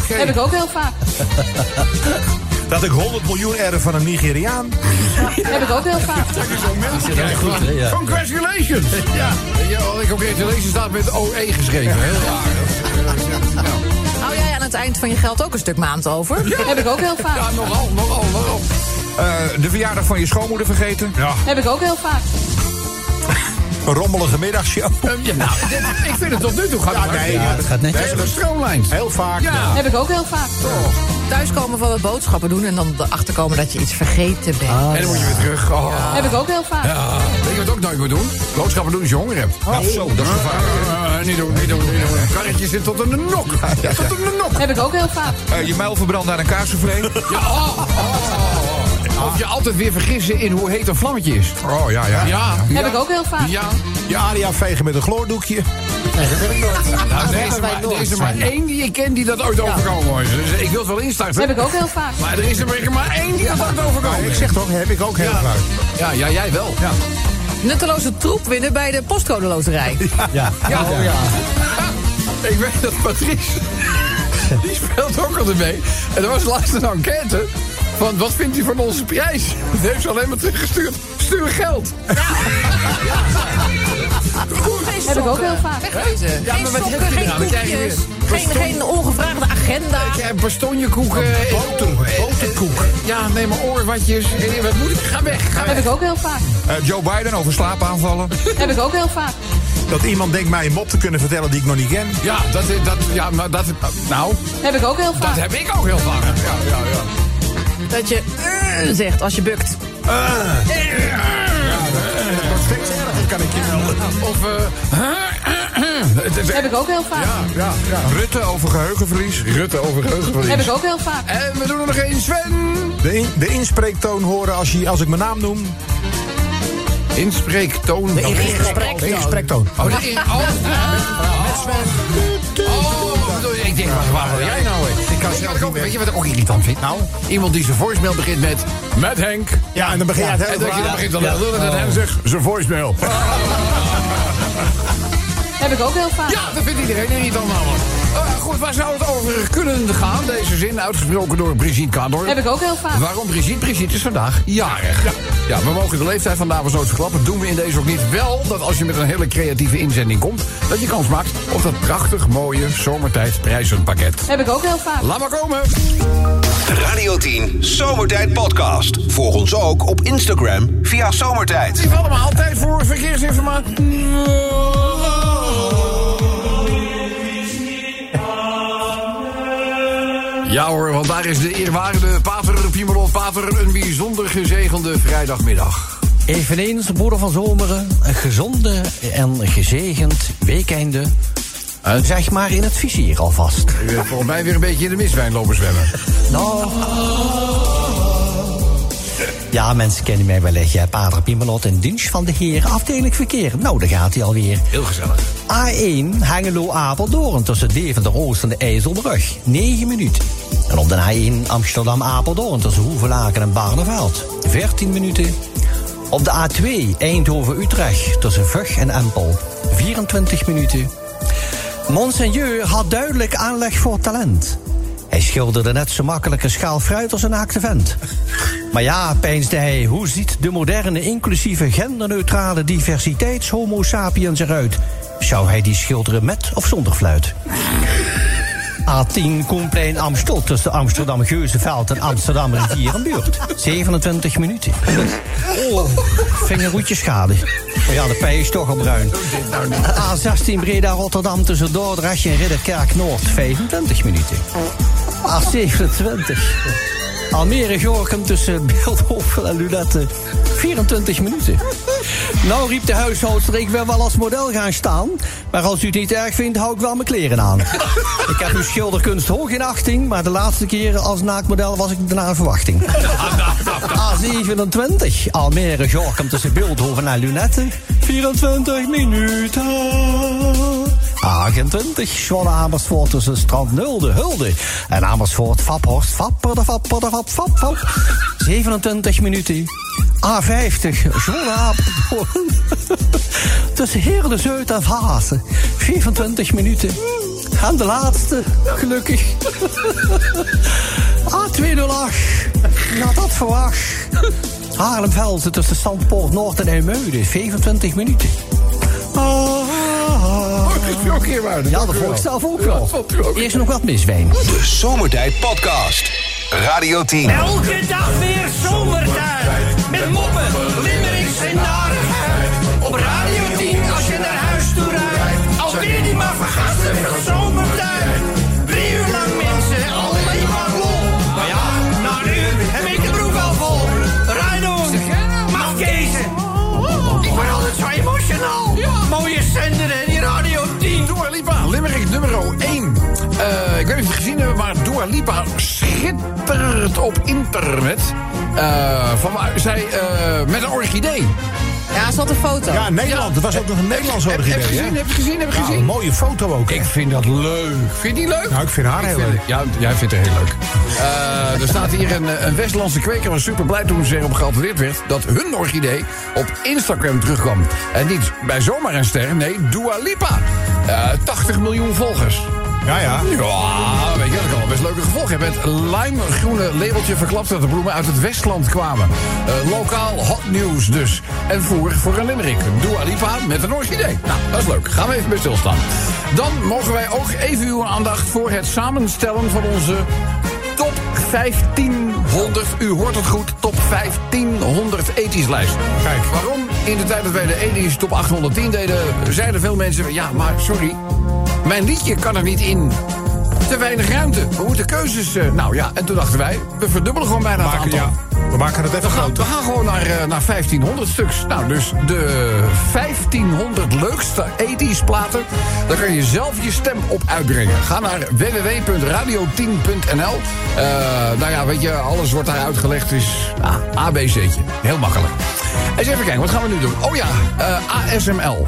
Heb ik ook heel vaak. Dat ik 100 miljoen erf van een Nigeriaan. Heb ik ook heel vaak. Congratulations. Ja. Ja, want ik congratulations staat met OE geschreven. Heel raar. Ja. Hou jij aan het eind van je geld ook een stuk maand over? Heb ik ook heel Ja, vaak. nogal, nogal, nogal. Eh, de verjaardag van je schoonmoeder vergeten. Ja. Heb ik ook heel vaak. Een rommelige middagshow. Ehm, ja, nou, dit- ik vind het tot nu toe gaat het nee, hard. ja, dat gaat De netjes. hele stroomlijn. Heel vaak. Ja. Heb ik ook heel vaak. Thuiskomen van het boodschappen doen en dan erachter komen dat je iets vergeten bent. En dan moet je weer terug. Oh. Heb ik ook heel vaak. Ja, weet je wat ik ook nooit meer doen? Boodschappen doen als je honger hebt. Oh. Ja, zo, dat is gevaarlijk. Eh, niet doen, niet doen, niet doen. Karretje zit tot in de nok. Tot in de nok. Heb ik ook heel vaak. Eh, je mijl verbrand naar een kaarsoufflé. Ja, oh, oh, oh, oh. Of je altijd weer vergissen in hoe heet een vlammetje is. Oh ja, ja. Ja. Heb ik ook heel vaak. Ja. Je aria vegen met een gloordoekje. Nou, er is er maar, er is er maar één die ik ken die dat ooit overkomen is. Dus ik wil het wel instarten. Heb ik ook heel vaak. Maar er is er maar- maar één die dat ooit Maar overkomen Nou, ik is. zeg toch, heb ik ook heel vaak. Ja, ja, jij wel. Ja. Nutteloze troep winnen bij de postcode loterij. Ja. Ik weet dat Patrice. Die speelt ook altijd mee. En er was laatst een enquête. Van wat vindt u van onze prijs? Dat heeft ze alleen maar teruggestuurd. Stuur geld. Heb ik ook heel vaak. Wegwezen. Ja, geen maar wat sokken, heb je geen nou? Wat krijg je koekjes, geen, geen ongevraagde agenda. Ik heb bastonjekoeken. Boter. eh, Boterkoek. Ja, neem maar oorwatjes. Eh, Wat moet ik? Ga weg. Ga Heb weg. ik ook heel vaak. Eh, Joe Biden over slaapaanvallen. Heb ik ook heel vaak. Dat iemand denkt mij een mop te kunnen vertellen die ik nog niet ken. Ja, dat, is- dat, ja, maar dat, nou, Heb ik ook heel dat vaak. heb ik ook heel vaak. Ja, ja, ja. Dat je eh, zegt als je bukt. Dat wordt steeds erger, kan ik je melden. Of, eh, het is- Heb ik ook heel vaak. ja, ja. Rutte over geheugenverlies. Rutte over geheugenverlies. Heb ik ook heel vaak. En we doen er nog één, Sven. De, in- de inspreektoon horen als, je, als ik mijn naam noem. Inspreektoon. De inspreektoon. De inspreektoon. Oh, de in... Oh, Oh, wat bedoel je? Ik denk, waar, waar wil jij nou? hè? Ik kan Weet je, zelf wat ik niet ook, meer. weet je wat ik ook irritant vind? Nou? Iemand die zijn voicemail begint met... Met Henk. Ja, en dan begin je het En Oh. dat je dan hele begint te lullen en dat Henk zegt... Zijn voicemail. Heb ik ook heel vaak. Ja, dat vindt iedereen irritant namelijk. Eh, goed, waar zou het over kunnen gaan? Deze zin uitgesproken door Brigitte Kador. Heb ik ook heel vaak. Waarom Brigitte? Brigitte is vandaag jarig. Ja. we mogen de leeftijd van dames nooit verklappen. Doen we in deze ook niet. Wel dat als je met een hele creatieve inzending komt... dat je kans maakt op dat prachtig mooie zomertijd prijzenpakket. Heb ik ook heel vaak. Laat maar komen. De Radio 10 Zomertijd Podcast. Volg ons ook op Instagram via Zomertijd. Lief allemaal, altijd voor verkeersinformatie. Ja hoor, want daar is de eerwaarde Pater Piemerol Pater... een bijzonder gezegende vrijdagmiddag. Eveneens, broeder van Zomeren, een gezonde en gezegend weekende. Zeg maar in het vizier alvast. Eh, Volgens mij weer een beetje in de miswijn lopen zwemmen. Nou. Ja, mensen kennen mij wellicht. hè. Pater Piemelot en dienst van de Heer, afdeling verkeer. Nou, daar gaat hij alweer. Heel gezellig. A1 Hengelo-Apeldoorn tussen Deventer-Oost en de IJsselbrug. 9 minuten. En op de A1 Amsterdam-Apeldoorn tussen Hoevelaken en Barneveld. 14 minuten. Op de A2 Eindhoven-Utrecht tussen Vug en Empel. 24 minuten. Monseigneur had duidelijk aanleg voor talent. Hij schilderde net zo makkelijk een schaal fruit als een naakte vent. Maar ja, peinsde hij, hoe ziet de moderne inclusieve genderneutrale diversiteits-homo sapiens eruit? Zou hij die schilderen met of zonder fluit? A10 Koenplein Amstel tussen Amsterdam Geuzenveld en Amsterdam Rivierenbuurt. 27 minuten. Oh, vingerhoedje schade. Maar ja, de pij is toch al bruin. A16 Breda Rotterdam tussen Dordrecht en Ridderkerk Noord. 25 minuten. A27 Almere Gorkum tussen Beeldhoven en Lunette. 24 minuten. Nou riep de huishoudster, ik wil wel als model gaan staan. Maar als u het niet erg vindt, hou ik wel mijn kleren aan. Ik heb uw schilderkunst hoog in achting, maar de laatste keer als naaktmodel was ik naar verwachting. A27, Almere, Gorkum tussen Beeldhoven en Lunetten. 24 minuten. A28, Zwolle, Amersfoort tussen Strand Nulde, Hulde. En Amersfoort, Vaphorst, Vapper, de Vapper, de Vap, Vap, Vap. 27 minuten. A50, Zwolle, Apeldoorn. tussen Heerlen, Zuid en Vaassen. 24 minuten. En de laatste, gelukkig. A208, na dat verwacht. Haarlem-Velzen tussen Zandpoort Noord en Eemuiden, 25 minuten. Ah. Ja, dat vond ik zelf ook wel. Eerst nog wat miswijn. De Zomertijd Podcast. Radio 10. Elke dag weer zomertijd. Met moppen, limmerings en narigheid. Op Radio 10 als je naar huis toe rijdt. Alweer die maar vergasten van zomertijd. Drie uur lang mensen, alleen maar lol. Maar ja, na nu heb ik de broek al vol. Rijdon, mag kezen. Ik word altijd zo emotional. Mooie zender en die Radio 10. Dua Lipa, Limerick nummer 1. Eh, ik weet niet of je het gezien hebben, maar Dua Lipa schittert op internet. Eh, van, waar- zij eh, met een orchidee. Ja, ze had een foto. Ja, Nederland. Het was ook nog een Nederlands Heb- heb orchidee. je gezien, hè? heb je gezien, heb je Ja, gezien? Een mooie foto ook. hè? Ik vind dat leuk. Vind je die leuk? Nou, ik vind haar heel vind- leuk. Ja, jij vindt het heel leuk. Eh, er staat hier een, eh, een Westlandse kweker was super blij toen ze erop geattendeerd werd dat hun orchidee op Instagram terugkwam. En niet bij zomaar een ster, nee, Dua Lipa. Eh, 80 miljoen volgers. Ja, Ja, ja. weet je, dat kan wel best leuke gevolgen hebben. Het limegroene labeltje verklapt dat de bloemen uit het Westland kwamen. Eh, lokaal hot nieuws dus. En voer voor een limerick. Dua Lipa met een orchidee. Nou, dat is leuk. Gaan we even bij stilstaan. Dan mogen wij ook even uw aandacht voor het samenstellen van onze top 1500. U hoort het goed, top 1500 ethisch lijst. Kijk. Waarom? In de tijd dat wij de ethisch top 810 deden, zeiden veel mensen... ja, maar sorry, mijn liedje kan er niet in. Te weinig ruimte. We moeten keuzes... eh, nou ja, en toen dachten wij, we verdubbelen gewoon bijna het Maken, aantal. ja, we maken het even We gaan, we groter. gaan gewoon naar, eh, naar 1500 stuks. Nou, dus de 1500 leukste ethisch platen. Daar kan je zelf je stem op uitbrengen. Ga naar www.radio10.nl. Eh, nou ja, weet je, alles wordt daar uitgelegd. is ah, ABC'tje. Heel makkelijk. Eens even kijken, wat gaan we nu doen? Oh ja, eh, ASML.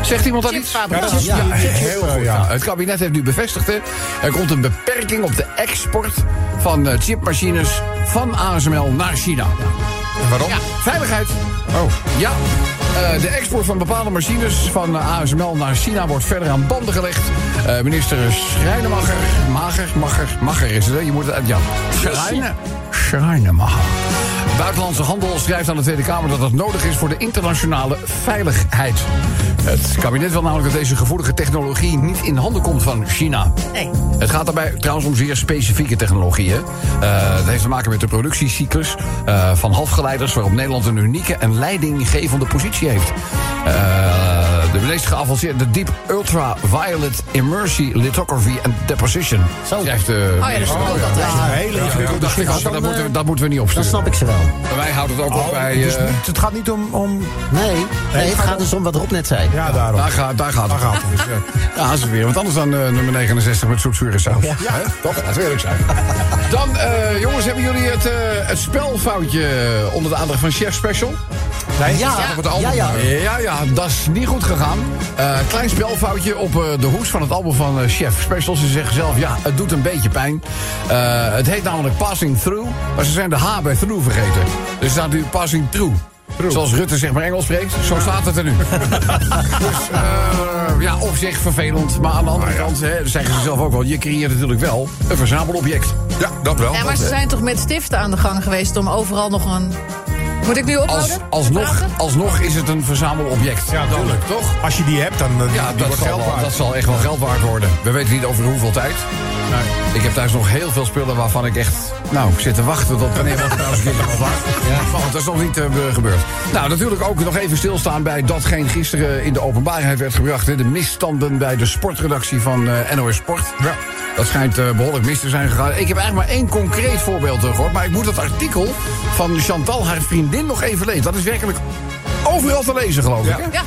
Zegt iemand dat iets? Ja, dat is- ja, heel Heel goed. ja. Nou, het kabinet heeft nu bevestigd. hè, Er komt een beperking op de export van eh, chipmachines van ASML naar China. En waarom? Ja, veiligheid. Oh. Ja. eh, de export van bepaalde machines van eh, ASML naar China wordt verder aan banden gelegd. Eh, minister Schrijnemacher, Mager, Mager, Mager is het, hè? Je moet het uit, ja. Schreine, Schrijnemacher. Buitenlandse handel schrijft aan de Tweede Kamer dat dat nodig is voor de internationale veiligheid. Het kabinet wil namelijk dat deze gevoelige technologie niet in handen komt van China. Nee. Het gaat daarbij trouwens om zeer specifieke technologieën. Eh het heeft te maken met de productiecyclus eh, van halfgeleiders, waarop Nederland een unieke en leidinggevende positie heeft. Eh, de meest geavanceerde Deep Ultraviolet Immersion Lithography and Deposition. Zo. Schrijft de Oh ja, dat minister. vond ik ook Ja, altijd. Ja, hele ingewikkelde dat- dat- schikkels. dat moeten we- Dat moeten we niet Dat opsturen. snap ik ze wel. Wij houden het ook Oh, op bij. Dus eh, niet, het gaat niet om... om Nee, nee het gaat dus om wat Rob net zei. ja, daarom. daar, gaat, daar gaat Daar het. gaat het. dus, ja. Ja, ze weer. Want anders dan eh, nummer 69 met zoetzure saus. Ja. Toch? Natuurlijk zijn. Dan, eh, jongens, hebben jullie het, eh, het spelfoutje eh, onder de aandacht van Chef Special? Nee, Ja. staat op het album. Ja, ja. Ja, ja, dat is niet goed gegaan. Eh, klein spelfoutje op eh, de hoes van het album van eh, Chef Special. Ze zeggen zelf, ja, het doet een beetje pijn. Eh, het heet namelijk Passing Through, maar ze zijn de H bij Through vergeten. Dus staat nu Passing Through. Zoals Rutte zeg maar Engels spreekt, zo staat het er nu. dus eh, ja, op zich vervelend. Maar aan de Ah, andere kant, hè, dat zeggen ze zelf ook wel, je creëert natuurlijk wel een verzamelobject. Ja, dat wel. Ja, maar ze zijn toch met stiften aan de gang geweest om overal nog een Moet ik nu ophouden? Als, alsnog, alsnog is het een verzamelobject. Ja, duidelijk, toch? Als je die hebt, dan eh, die- Ja, die dat wordt zal, geld wel- waard. dat zal echt wel geld waard worden. We weten niet over hoeveel tijd. Ik heb thuis nog heel veel spullen waarvan ik echt... Nou, ik zit te wachten tot wanneer wat trouwens een keer wat waard. Maar goed, dat is nog niet eh, gebeurd. Nou, natuurlijk ook nog even stilstaan bij datgene gisteren in de openbaarheid werd gebracht. Hè, de misstanden bij de sportredactie van eh, NOS Sport. Ja. Dat schijnt eh, behoorlijk mis te zijn gegaan. Ik heb eigenlijk maar één concreet voorbeeld eh, gehoord. Maar ik moet dat artikel van Chantal, haar vriendin, nog even lezen. Dat is werkelijk overal te lezen, geloof ik. hè? Ja.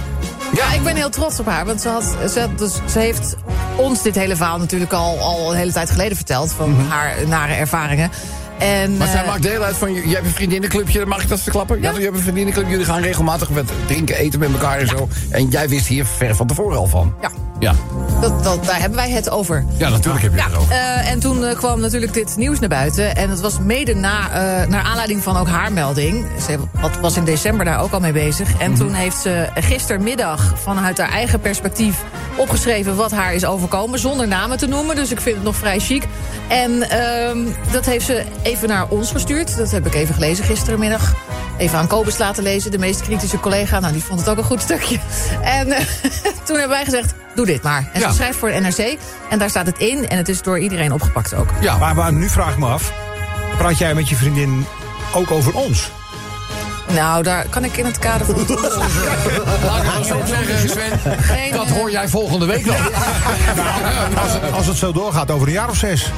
Ja, ik ben heel trots op haar. Want ze, had, ze, had dus, ze heeft ons dit hele verhaal natuurlijk al, al een hele tijd geleden verteld. Van haar nare ervaringen. En, Mhm. Maar zij eh, maakt deel uit van, je- jij hebt een vriendinnenclubje, dan mag ik dat te klappen? Ja, je hebt een vriendinnenclub, jullie gaan regelmatig met drinken, eten met elkaar en zo. En jij wist hier ver van tevoren al van. Ja. Ja, dat, dat, daar hebben wij het over. ja natuurlijk heb je het erover. Eh, en toen eh, kwam natuurlijk dit nieuws naar buiten. En dat was mede na, eh, naar aanleiding van ook haar melding. Ze wat- was in december daar ook al mee bezig. En toen heeft ze gistermiddag vanuit haar eigen perspectief opgeschreven wat haar is overkomen. Zonder namen te noemen, dus ik vind het nog vrij chic. En ehm, dat heeft ze even naar ons gestuurd. Dat heb ik even gelezen gistermiddag. Even aan Kobus laten lezen, de meest kritische collega. Nou, die vond het ook een goed stukje. En eh, toen hebben wij gezegd, doe dit maar. En ze schrijft voor de NRC. En daar staat het in. En het is door iedereen opgepakt ook. Ja. Maar, maar nu vraag ik me af, praat jij met je vriendin ook over ons? Nou, daar kan ik in het kader van... Laat ik het zo zeggen, Sven. Nee, Dat hoor jij volgende week nog. Als het, als het zo doorgaat, over een jaar of zes.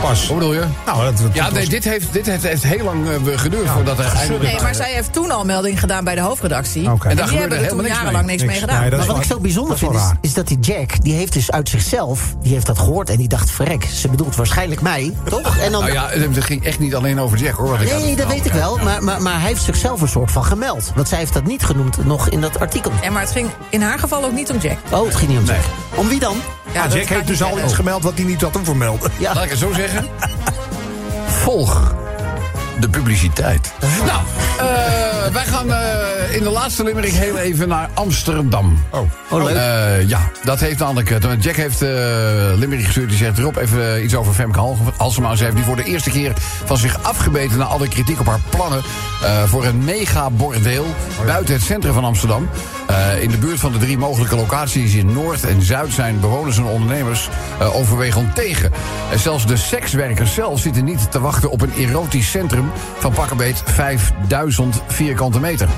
Pas. Hoe bedoel je? Nou, dat, dat- Ja, dat- nee, dit heeft, dit heeft, heeft heel lang eh, geduurd voordat er eindelijk... Nee, maar zij heeft toen al melding gedaan bij de hoofdredactie. Oké. En En daar die gebeurde hebben er toen helemaal niks jarenlang mee. niks mee Niks. gedaan. Nee, dat Maar is wat ik wel- zo bijzonder dat is vind wel is, raar. is dat die Jack, die heeft dus uit zichzelf, die heeft dat gehoord en die dacht, verrek, ze bedoelt waarschijnlijk mij, toch? En dan, Nou ja, het ging echt niet alleen over Jack, hoor. wat ik nee, had- dat weet ik wel, maar, maar, maar hij heeft zichzelf een soort van gemeld. Want zij heeft dat niet genoemd nog in dat artikel. En maar het ging in haar geval ook niet om Jack. Oh, het ging niet om Jack. Om wie dan? Ja, dat Ah, Jack ga ik heeft dus niet al iets vertellen. gemeld wat hij niet had hem vermelden. Ja. Laat ik het zo zeggen. Volg de publiciteit. Nou, eh, wij gaan eh, in de laatste limerick heel even naar Amsterdam. Oh, leuk. Eh, ja, dat heeft Anneke. Toen- Jack heeft eh limerick gestuurd. Die zegt, Rob, even eh, iets over Femke Hal- Halsema. Ze heeft nu voor de eerste keer van zich afgebeten... na alle kritiek op haar plannen eh, voor een mega-bordeel... buiten het centrum van Amsterdam. Eh, in de buurt van de drie mogelijke locaties in Noord en Zuid... zijn bewoners en ondernemers eh, overwegend tegen. En zelfs de sekswerkers zelf zitten niet te wachten... op een erotisch centrum van pakkenbeet 5000 vierkante meter.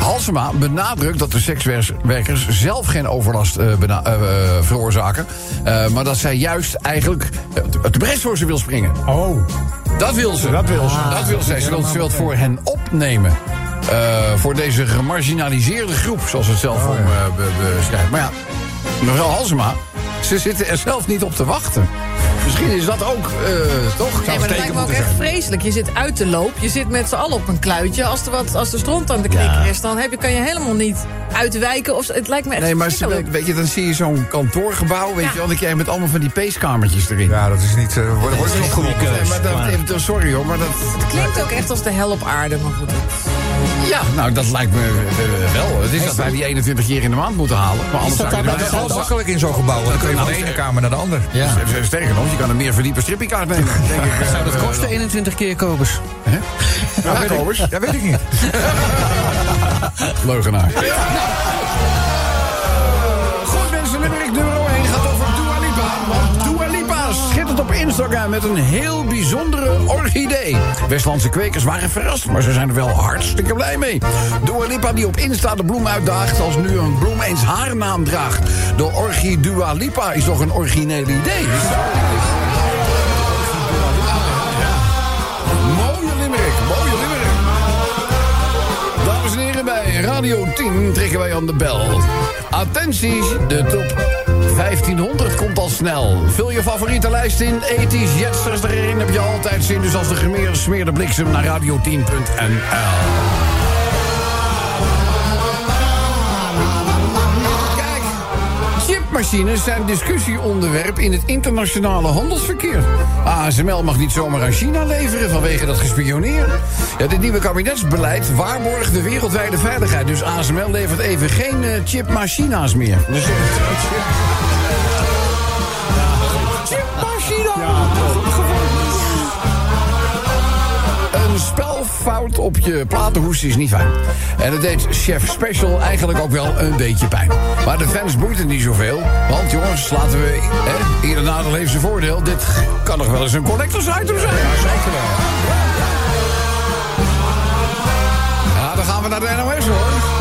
Halsema benadrukt dat de sekswerkers zelf geen overlast eh, bena- eh, eh, veroorzaken... eh, maar dat zij juist eigenlijk eh, het brest voor ze wil springen. Oh, Dat wil ze. Dat wil ze. dat wil zij. Ze wil ze wil het voor hen opnemen. Eh, voor deze gemarginaliseerde groep, zoals het zelf om, eh, be- beschrijft. Maar ja, mevrouw Halsema, ze zitten er zelf niet op te wachten. Misschien is dat ook, eh, toch? Nee, maar dat lijkt me ook echt vreselijk. Je zit uit de loop, je zit met z'n allen op een kluitje. Als er, wat, als er stront aan de knikker is, dan heb je, kan je helemaal niet uitwijken. Of, zo. het lijkt me echt Nee, maar ze- verschrikkelijk. weet je, dan zie je zo'n kantoorgebouw, weet Ja. je wel, dan krijg je met allemaal van die peeskamertjes erin. ja, dat is niet... eh, wordt wordt niet opgeroepen. Nee, maar dat, even- sorry hoor, maar dat... Het klinkt ook echt als de hel op aarde, maar goed. Ja, nou, dat lijkt me eh, wel. Het is dat wij die 21 keer in de maand moeten halen. Maar anders dat zou je daar er bij wel- Dat is makkelijk in zo'n gebouw. Dan kun je van de ene kamer naar de andere. Ja. Dus, eh, Sterker nog, je kan een meer verdiepe strippiekaart nemen. Denk ik. Zou dat kosten? 21 keer kobus. Ja, Kobus. Dat weet ik niet. Leugenaar. Goed mensen, Limerick nummer 1 gaat over Dua Lipa. Want Dua Lipa schittert op Instagram met een heel bijzondere orchidee. Westlandse kwekers waren verrast, maar ze zijn er wel hartstikke blij mee. Dua Lipa die op Insta de bloem uitdaagt als nu een bloem eens haar naam draagt. De orchidee Dua Lipa is toch een origineel idee? Mooie limerick, mooie limerick. Dames en heren, bij Radio 10 trekken wij aan de bel. Attentie, de top 1500 komt al snel. Vul je favoriete lijst in, ethisch jetsters erin heb je altijd zin. Dus als de gemeer smeerde bliksem naar radio10.nl. Kijk, chipmachines zijn discussieonderwerp in het internationale handelsverkeer. ASML mag niet zomaar aan China leveren vanwege dat gespioneer. Ja, dit nieuwe kabinetsbeleid waarborgt de wereldwijde veiligheid. Dus ASML levert even geen eh, chipmachina's meer. Dus, Chipmachina! Een spel fout op je platenhoes is niet fijn. En dat deed Chef Special eigenlijk ook wel een beetje pijn. Maar de fans boeiten niet zoveel. Want jongens, laten we... Hè, ieder nadeel heeft zijn voordeel. Dit kan nog wel eens een collectors item zijn. Ja, zeker wel. Ja, dan gaan we naar de NOS hoor.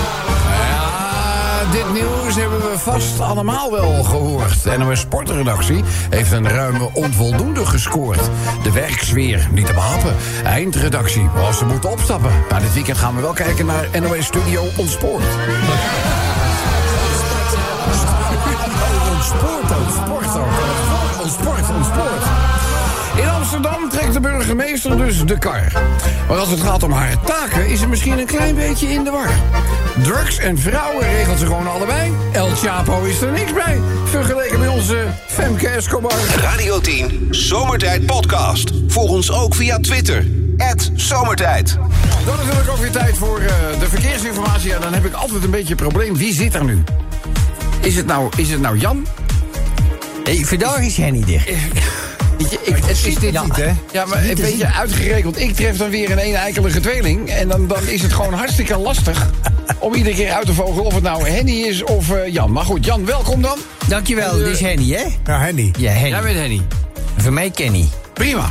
Ja, dit nieuws hebben we vast allemaal wel gehoord. De NOS Sportredactie heeft een ruime onvoldoende gescoord. De werksfeer, niet te behappen. Eindredactie, oh, ze moeten opstappen. Maar dit weekend gaan we wel kijken naar NOS Studio Ontspoord. Ontspoord ook, sport ook. Ontspoord, ontspoord. In Amsterdam trekt de burgemeester dus de kar. Maar als het gaat om haar taken, is ze misschien een klein beetje in de war. Drugs en vrouwen regelt ze gewoon allebei. El Chapo is er niks bij, vergeleken met onze Femke Escobar. Radio 10, Zomertijd Podcast. Volg ons ook via Twitter. Zomertijd. Dan natuurlijk ook weer tijd voor eh, de verkeersinformatie. Ja, dan heb ik altijd een beetje een probleem. Wie zit er nu? Is het nou, is het nou Jan? Hey, vandaag is hij niet dicht. het is dit niet, hè? Ja, maar Het is niet een te beetje zien. uitgerekend. Ik tref dan weer een eenijkelige tweeling. En dan, dan is het gewoon hartstikke lastig om iedere keer uit te vogelen of het nou Henny is of eh, Jan. Maar goed, Jan, welkom dan. eh, Dankjewel, dit is Henny, hè? Ja, Henny. Ja, Henny. Jij bent Henny. Voor mij Kenny. Prima.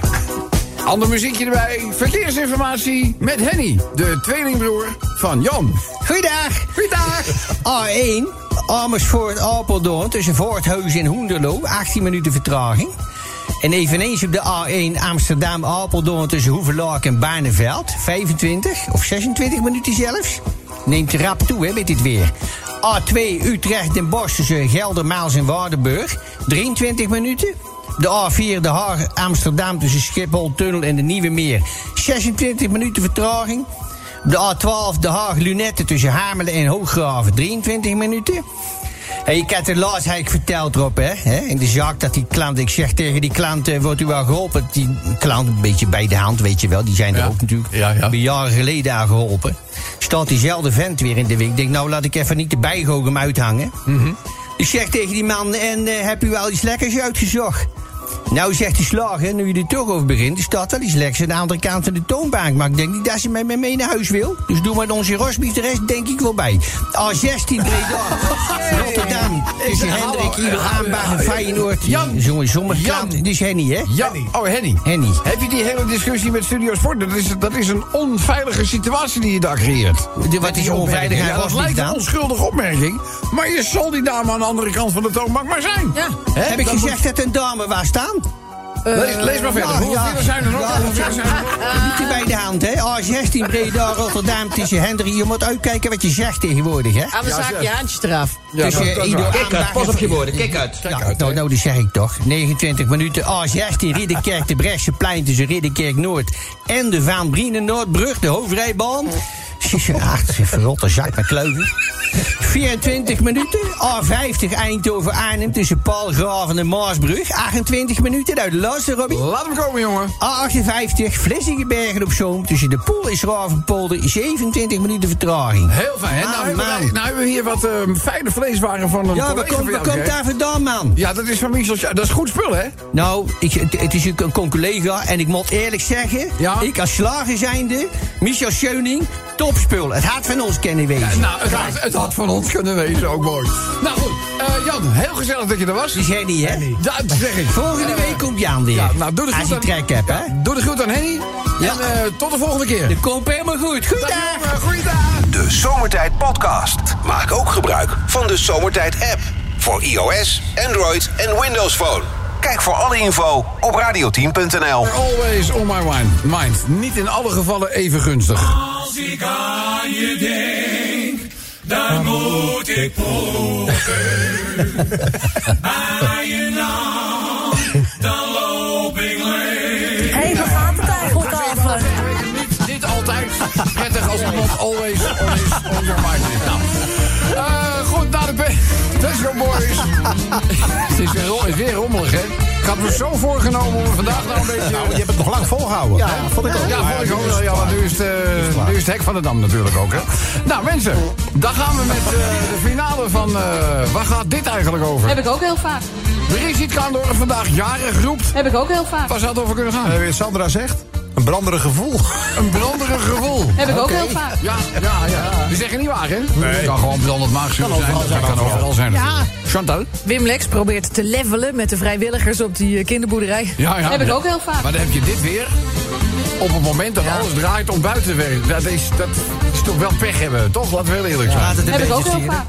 Ander muziekje erbij. Verkeersinformatie met Henny, de tweelingbroer van Jan. Goeiedag. Goeiedag. A1, Amersfoort, Apeldoorn, tussen Voorthuizen en Hoenderloo, 18 minuten vertraging. En eveneens op de A1 Amsterdam, Apeldoorn, tussen Hoevelaak en Barneveld, 25 of 26 minuten zelfs. Neemt rap toe, hè, met dit weer. A2 Utrecht en Bosch tussen Gelder, Maals en Waardenburg, 23 minuten. De A4 De Haag, Amsterdam tussen Schiphol, Tunnel en de Nieuwe Meer, 26 minuten vertraging. Op de A12 De Haag Lunetten tussen Hamelen en Hooggraven. 23 minuten. Hey, ik had er laatst heb ik verteld erop, hè, hè, in de zaak, dat die klant, ik zeg tegen die klant, eh, wordt u wel geholpen? Die klant, een beetje bij de hand, weet je wel, die zijn er ook natuurlijk een jaren geleden aan geholpen. Staat diezelfde vent weer in de winkel. Ik denk, nou laat ik even niet de bijgoochem uithangen. Ik zeg tegen die man, en eh, heb u wel iets lekkers uitgezocht? Nou, zegt die slager, nu je er toch over begint, is dat wel iets lekkers aan de andere kant van de toonbank. Maar ik denk niet dat ze mij mee naar huis wil. Dus doe maar onze rosbief de rest, denk ik wel bij. A16 Breda, Rotterdam, is Hendrik, Ieder, Aanbach en Feyenoord. Jan, jongen, sommige klanten, dit is Henny, hè? Jan. Oh, Henny. Henny. Heb je die hele discussie met Studio Sport? Dat is, dat is een onveilige situatie die je daar creëert. De- wat is onveilig aan Ja, dat rosbief lijkt een dan? onschuldige opmerking. Maar je zal die dame aan de andere kant van de toonbank maar zijn. Ja. Heb ik gezegd dat een dame was staan? Lees, lees maar verder. Nou, Hoeveel ja. zijn er nog? Ja, Hoeveel zijn er nog? Niet te bij de hand, hè? A16 Breda, Rotterdam, tussen Hendrik. Je moet uitkijken wat je zegt tegenwoordig, hè? Aan mijn zaak je handjes eraf. Ja, dus je Ido Aanbach- Ja, nou, nou, dat zeg ik toch. 29 minuten, A16, Ridderkerk, de Brechtseplein tussen Ridderkerk Noord en de Van Brienen Noordbrug, de hoofdrijbaan. Jezus, Ach, ze verrotte zak met kleuven. 24 minuten, A50 Eindhoven Arnhem tussen Paalgraven en Maasbrug. 28 minuten, nou, luister Robbie. Laat hem komen, jongen. A58 Vlessingenbergen op Zoom tussen de Poel en Schravenpolder. 27 minuten vertraging. Heel fijn, hè? Nou, Ah, hebben we, man. nou, hebben we hier wat ehm, fijne vleeswaren van een Ja, collega waar komt, van waar jou komt daar gekregen. vandaan, man? Ja, dat is van Michel. Scha- Dat is goed spul, hè? Nou, ik, het, het is een, een collega en ik moet eerlijk zeggen... ik als slager zijnde, Michel Scheuning, topspul. Het had van ons kennen wezen. Nou, het had, het had van ons kunnen wezen, ook mooi. Nou goed, eh, Jan, heel gezellig dat je er was. Die is Henny, hè? Dat zeg ik. Volgende week komt Jan weer. Ja, nou, doe de Als je groet aan, trek hebt, hè? doe de groet aan Henny. En eh, tot de volgende keer. Dat komt helemaal goed. Goeiedag! De Zomertijd Podcast. Maak ook gebruik van de Zomertijd app. Voor iOS, Android en Windows Phone. Kijk voor alle info op radio10.nl. Always on my mind. mind. Niet in alle gevallen even gunstig. Als ik aan je denk, dan moet ik poken. Bij je naam, dan loop ik leeg. Hé, waar gaat het eigenlijk eh, over? Dit altijd prettig als iemand always, always on your mind is. Nou, eh, goed, naar de pe... Tesco Boys. Het is weer, ro- is weer rommelig, hè? Ik had me zo voorgenomen om er vandaag nou een beetje... Nou, je hebt het nog lang volgehouden. Ja, vond ik ook. Ja, vond ik ook wel. Ja, want nu is, het, eh, nu is het hek van de dam natuurlijk ook, hè? Nou, mensen, dan gaan we met eh, de finale van... eh, waar gaat dit eigenlijk over? Heb ik ook heel vaak. Brigitte Kaandorf vandaag jarig roept. Heb ik ook heel vaak. Eh, Waar zou het over kunnen gaan? Sandra zegt. Een branderig gevoel. Een branderig gevoel. Heb ik ook Oké. heel vaak. Ja, ja, ja. Die zeggen niet waar, hè? Nee. Het kan gewoon brandend maagzuur Kan zijn. overal dat zijn. kan overal zijn. Ja. Chantal? Wim Lex probeert te levelen met de vrijwilligers op die eh, kinderboerderij. Ja, ja. Heb ik ook heel vaak. Maar dan heb je dit weer. Op het moment dat alles draait om buiten te werken. Dat is, dat is toch wel pech hebben, toch? Laten we heel eerlijk zijn. Heb ik ook heel vaak.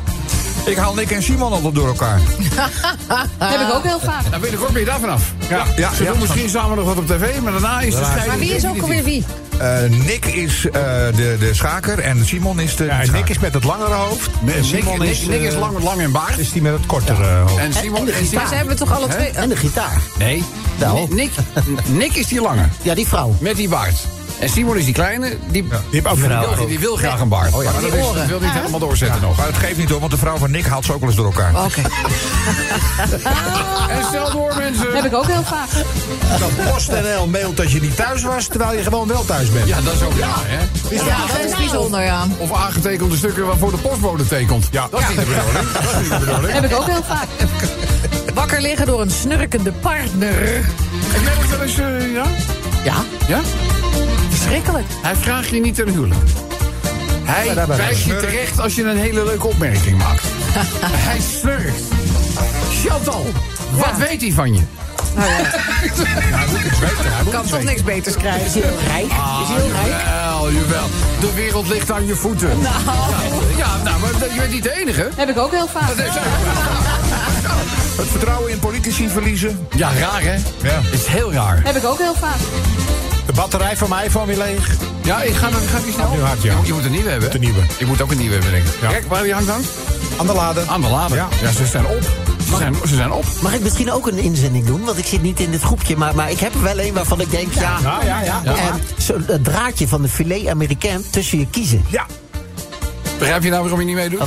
Ik haal Nick en Simon altijd door elkaar. Heb ik ook heel vaak. Dan weet ik ook weer daarvan af. Ja, ja, ze ja. doen misschien samen nog wat op tv, maar daarna is de Ja. strijd. Maar wie is ook alweer wie? Eh, Nick is eh, de, de schaker en Simon is de. Ja, Nick is met het langere hoofd. Nee, Nick, Nick, Nick eh, is lang, lang in baard. Is die met het kortere hoofd? En Simon en Maar ze Simon- hebben toch alle Hè? twee... En de gitaar. Nee. Wel. Nick, Nick is die lange. Ja, die vrouw. Met die baard. En Simon is die kleine, die, Die heeft ook die vrouw. wil, die wil graag een baard. Oh ja. Maar dat is, dat wil niet helemaal doorzetten nog. Maar het geeft niet hoor, want de vrouw van Nick haalt ze ook wel eens door elkaar. Oké. En stel door mensen. Heb ik ook heel vaak. Dat PostNL mailt dat je niet thuis was, terwijl je gewoon wel thuis bent. Ja, dat is ook raar, hè? Ja, dat is bijzonder, ja. Of aangetekende stukken waarvoor de postbode tekent. Ja. Dat is niet de bedoeling. Dat is niet de bedoeling. Heb ik ook heel vaak. Wakker liggen door een snurkende partner. Heb jij dat wel eens, eh, ja? Ja, Ja? verschrikkelijk. Hij vraagt je niet ten huwelijk. Hij wijst je terecht als je een hele leuke opmerking maakt. hij snurkt. Chantal, wat weet hij van je? Kan toch niks beters krijgen. Ah, jawel, jawel. De wereld ligt aan je voeten. Ja, Ja, nou, maar je bent niet de enige. Heb ik ook heel vaak. Het vertrouwen in politici verliezen. Ja, raar, hè? Ja. Is heel raar. Heb ik ook heel vaak. De batterij van mijn iPhone weer leeg. Ja, ik ga, ik ga die snel. Nu hard, ja. Je moet- Je moet een nieuwe hebben. De nieuwe. Je moet ook een nieuwe hebben, denk ik. Ja. Kijk, waar die hangt dan? Aan de laden. Aan de lader. Ja. ze zijn op. Ze zijn, ze zijn op. Mag ik misschien ook een inzending doen? Want ik zit niet in dit groepje, maar, maar ik heb er wel een waarvan ik denk, ja... Ja, ja, ja. eh, zo- het draadje van de filet Amerikaan tussen je kiezen. Ja. Begrijp je nou waarom je niet meedoet?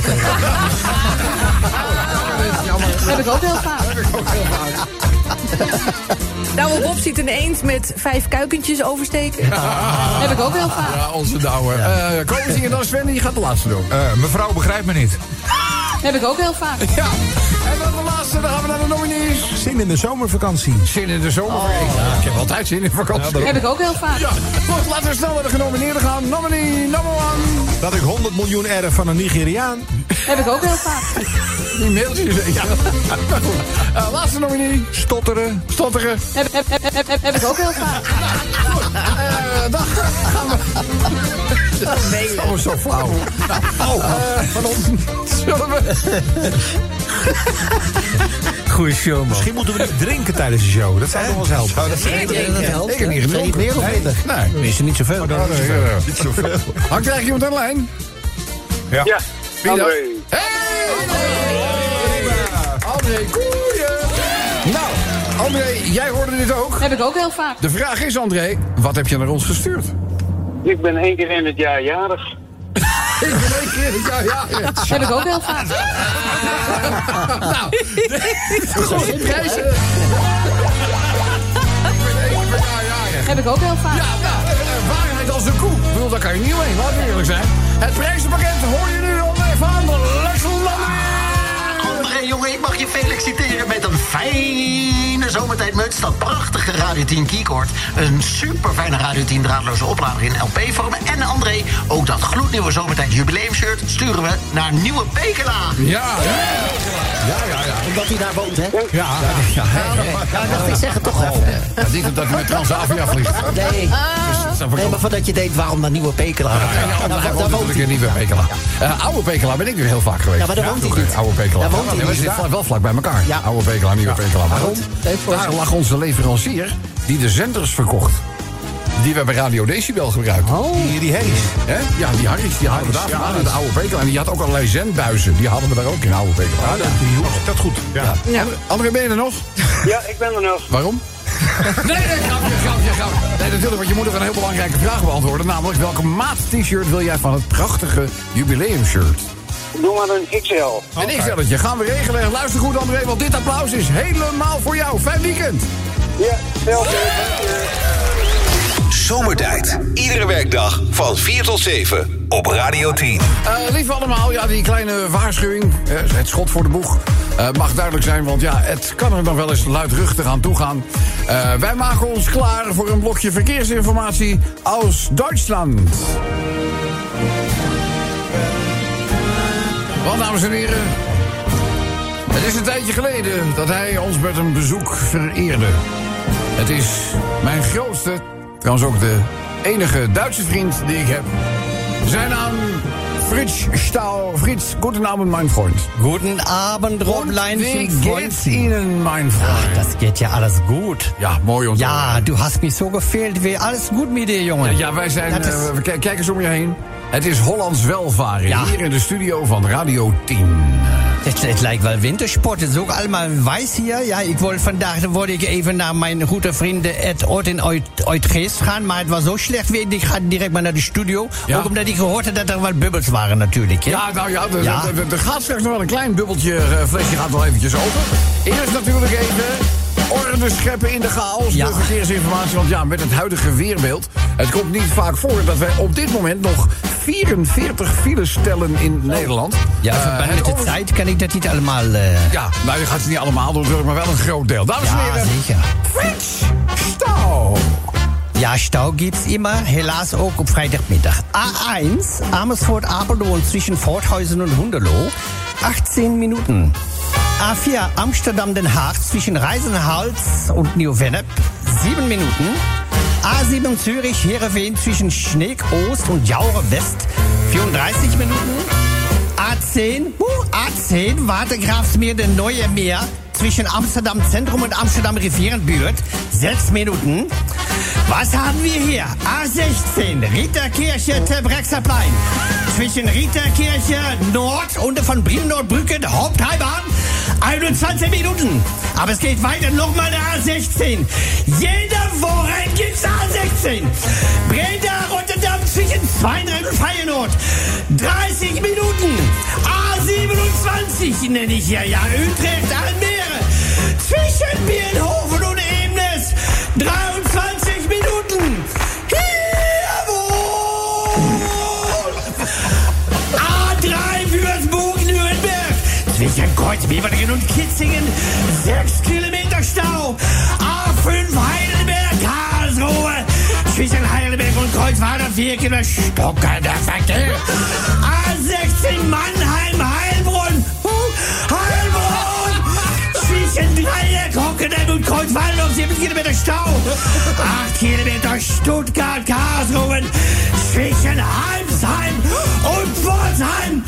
Heb ik ook heel vaak. Nou, Bob ziet een eend met vijf kuikentjes oversteken. Heb ik ook heel vaak. Ja, onze douwe. Eh komen ze hier dan Sven? Die gaat de laatste doen. Eh, mevrouw begrijpt me niet. Heb ik ook heel vaak. Ja. En dan de laatste. Dan gaan we naar de nominees. Zin in de zomervakantie. Zin in de zomer. Ik heb altijd zin in vakantie. Heb ik ook heel vaak. Ja, goed, laten we snel naar de genomineerden gaan. Nominee number one. Dat ik 100 miljoen erf van een Nigeriaan. Heb ik ook heel vaak. Die mailtjes. Ja. Maar goed. Eh, laatste nominee. Stotteren. Stotteren. Heb, heb, heb, heb, heb, heb ik ook heel vaak. Eh dag. Gaan we. Oh, zo flauw. Nou, oh, eh, pardon. Zullen we? Goeie show, man. Misschien moeten we niet drinken tijdens de show. Dat zou toch wel eens helpen. Ik heb niet gedronken. meer of minder? Nee. Oh, Is er niet zoveel? Niet zoveel. Hangt er eigenlijk iemand aan de lijn? Ja, Wie dat? André. Hey! André! André, goeie! Nou, André, jij hoorde dit ook. Heb ik ook heel vaak. De vraag is, André, wat heb je naar ons gestuurd? ik ben één keer in het jaar jarig. Ik ben één keer... Ja, ja. ja. Heb ik ook heel vaak. Nou, goede prijzen. Ik ben één keer per jaar jarig. Heb ik ook heel vaak. Ja, nou, eh, waarheid als de koe. Ik bedoel, daar kan je niet omheen, laten we eerlijk zijn. Het prijzenpakket hoor je nu al even aan de André, jongen, ik mag je feliciteren met een fijne zomertijdmuts. Dat prachtige Radio 10 keycord. Een super fijne Radio 10 draadloze oplader in LP-vorm. En André, ook dat gloednieuwe zomertijd jubileumshirt sturen we naar Nieuwe Pekela. Ja, Omdat hij daar woont, hè? Ja, ja, ja. ik dacht, ik zeg het toch even. Dat is niet omdat hij met Transavia vliegt. Nee, nee maar voordat je denkt, waarom naar Nieuwe Pekela? Ja, Nou, daar, daar daar woont woont natuurlijk een nieuwe Pekela. Eh, oude Pekela ben ik weer heel vaak geweest. Ja, maar daar woont hij vroeger. niet. Oude Pekela. Daar woont hij we niet. zitten wel vlak bij elkaar. Ja. Oude Pekela, nieuwe Pekela. Maar Waarom? goed, Leuk voor daar ze. lag onze leverancier die de zenders verkocht. Die we bij Radio Decibel gebruikt. Oh. Hier die Harry's. Hè? Ja, die Harris, die hadden we daar Ja, vandaan, de oude Pekela. En die had ook allerlei zendbuizen. Die hadden we daar ook in oude Pekela. Ah, dat, die hoek. dat goed. Ja. André, André, ben je er nog? Ja, ik ben er nog. Waarom? Nee, nee, grapje, grapje, grapje. Nee, natuurlijk, want je moet er een heel belangrijke vraag beantwoorden. Namelijk, welke maat t-shirt wil jij van het prachtige jubileumshirt? Doe maar een XL. En ik zeg dat je, gaan we regelen. En Luister goed, André, want dit applaus is helemaal voor jou. Fijn weekend! Ja, zelf. Zomertijd. Iedere werkdag van 4 tot 7. op Radio 10. Eh, lieve allemaal, ja, die kleine waarschuwing, eh, het schot voor de boeg, eh, mag duidelijk zijn, want ja, het kan er nog wel eens luidruchtig aan toegaan. Eh wij maken ons klaar voor een blokje verkeersinformatie aus Duitsland. Want, dames en heren, het is een tijdje geleden dat hij ons met een bezoek vereerde. Het is mijn grootste, trouwens ook de enige Duitse vriend die ik heb. Zijn naam Fritz Stahl. Fritz, guten Abend, mein Freund. Guten Abend, Roblein. wie geht's Ihnen, mein Freund? Ach, das geht ja alles gut. Ja, mooi und Ah, Ja, du hast mich so gefehlt. Wie alles gut mit dir, Junge. Ja, wij zijn. Dat is- eh, we k- kijk eens om je heen. Het is Hollands welvaren Ja. hier in de studio van Radio 10. Het, het lijkt wel wintersport. Het is ook allemaal wijs hier. Ja, ik wil vandaag word ik even naar mijn goede vrienden Ed Ort in Oud- Oudgeest gaan. Maar het was zo slecht weer. Ik ga direct maar naar de studio. Ja. Ook omdat ik gehoord had dat er wat bubbels waren natuurlijk. hè. Ja, nou ja, er- Ja. er- er- er gaat straks nog wel een klein bubbeltje eh, flesje gaat nog eventjes open. Eerst natuurlijk even orde scheppen in de chaos. Ja. De verkeersinformatie, want ja, met het huidige weerbeeld... het komt niet vaak voor dat wij op dit moment nog 44 files stellen in Nederland. Oh. Ja, Eh, verband het met de over- tijd kan ik dat niet allemaal... eh, Ja, nou, je gaat ze niet allemaal door, natuurlijk, maar wel een groot deel. Dames en ja, heren, zeker. Fritz Stau. Ja, Stau gibt's immer, helaas ook op vrijdagmiddag. A1, Amersfoort, Apeldoorn zwischen Voorthuizen und Hunderlo, 18 Minuten. A4, Amsterdam, Den Haag zwischen Reisenhals und Nieuw-Vennep, 7 Minuten. A7, Zürich, Heerenveen zwischen Schneek Ost und Jaure West, 34 Minuten. A10, huh, A10, Wartegrafsmeer, der neue Meer zwischen Amsterdam Zentrum und Amsterdam Rivierenbürt. Sechs Minuten. Was haben wir hier? A16, Rieterkirche, Tebrexer Plein. Zwischen Rieterkirche Nord und von Brimnordbrücke, der Haupthalbahn, 21 Minuten. Aber es geht weiter, nochmal der A16. Jede Woche gibt's A16. Breda, Rotterdam, zwischen Zweindrecht und Feyenoord. 30 Minuten. A27 nenne ich hier, ja. Utrecht, Almere. Zwischen Bienhofen und Eemnes. 23 Minuten. Jawohl! A3 Würzburg, Nürnberg. Zwischen Kreuzbeverdingen und Kitzingen. 6 Kilometer Stau. A5 Heidelberg, Karlsruhe. Zwischen Heidelberg und Kreuzweiler 4 Kilometer stockender Verkehr. A16 Mannheim, Heilbronn. Huh, Heilbronn! Zwischen Dreieck, Hockenheim und um Kreuzwald noch 7 Kilometer Stau. 8 Kilometer Stuttgart, Karlsruhe. Zwischen Halmsheim und Pforzheim.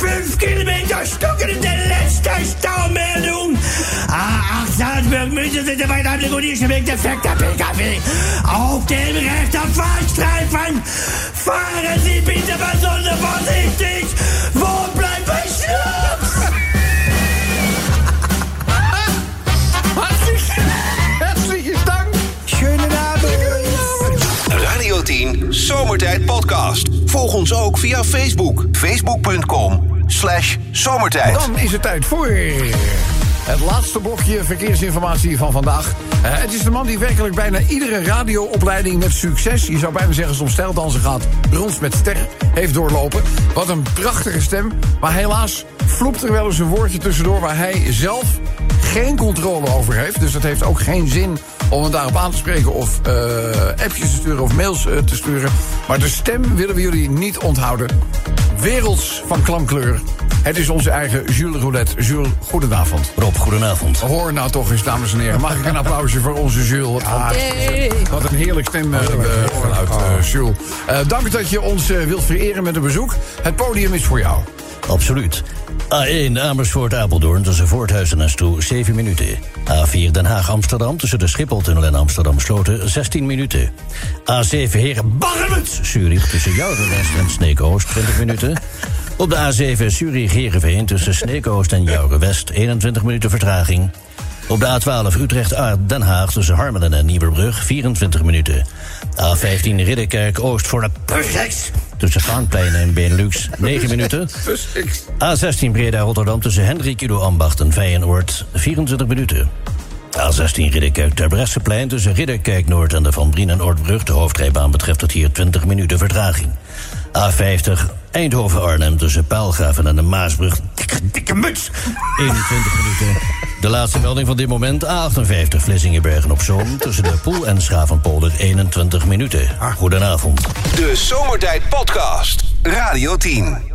5 Kilometer Stuttgart, der letzte Staumeldung. A8 Salzburg, München sind der Weithandel und hier schmeckt der Fekter PKW. Auf dem rechten Fahrstreifen fahren Sie bitte besonders vorsichtig. Wo bleibt mein Schnaps? Herzlichen Dank. Schönen Abend. Radio 10 Zomertijd Podcast. Volg ons ook via Facebook. Facebook.com slash zomertijd. Dan is het tijd voor het laatste blokje verkeersinformatie van vandaag. Eh, het is de man die werkelijk bijna iedere radioopleiding met succes... je zou bijna zeggen soms stijldansen gaat, brons met ster, heeft doorlopen. Wat een prachtige stem, maar helaas vloept er wel eens een woordje tussendoor... waar hij zelf geen controle over heeft. Dus dat heeft ook geen zin om het daarop aan te spreken... of eh, appjes te sturen of mails eh, te sturen. Maar de stem willen we jullie niet onthouden werelds van klamkleur. Het is onze eigen Jules Roulette. Jules, goedenavond. Rob, goedenavond. Hoor nou toch eens, dames en heren. Mag ik een applausje voor onze Jules? Wat, fantastisch. Wat een heerlijk stemgeluid, eh Jules. Eh, dank dat je ons eh, wilt vereren met een bezoek. Het podium is voor jou. Absoluut. A1 Amersfoort Apeldoorn tussen Voorthuizen en Stroe 7 minuten. A4 Den Haag Amsterdam tussen de Schipholtunnel en Amsterdam Sloten 16 minuten. A7 Heren Barmens Zurich tussen Jourenwest en Sneekoost 20 minuten. Op de A7 Zurich Heerenveen tussen Sneekoost en Jourenwest 21 minuten vertraging. Op de A12 Utrecht Aard Den Haag tussen Harmelen en Nieuwerbrug 24 minuten. A15 Ridderkerk Oost voor de Pussex tussen Vaanplein en Benelux 9 minuten. A16 Breda Rotterdam tussen Hendrik Udo Ambacht en Feyenoord 24 minuten. A16 Ridderkerk ter Bresseplein tussen Ridderkerk Noord en de Van Brienen Oordbrug. De hoofdrijbaan betreft het hier 20 minuten vertraging. A50 Eindhoven-Arnhem tussen Pijlgraven en de Maasbrug. Dikke, dikke muts! 21 minuten. De laatste melding van dit moment. A58 Vlessingenbergen op Zoom tussen de Poel en Schavenpolder. 21 minuten. Goedenavond. De Zomertijd Podcast. Radio 10.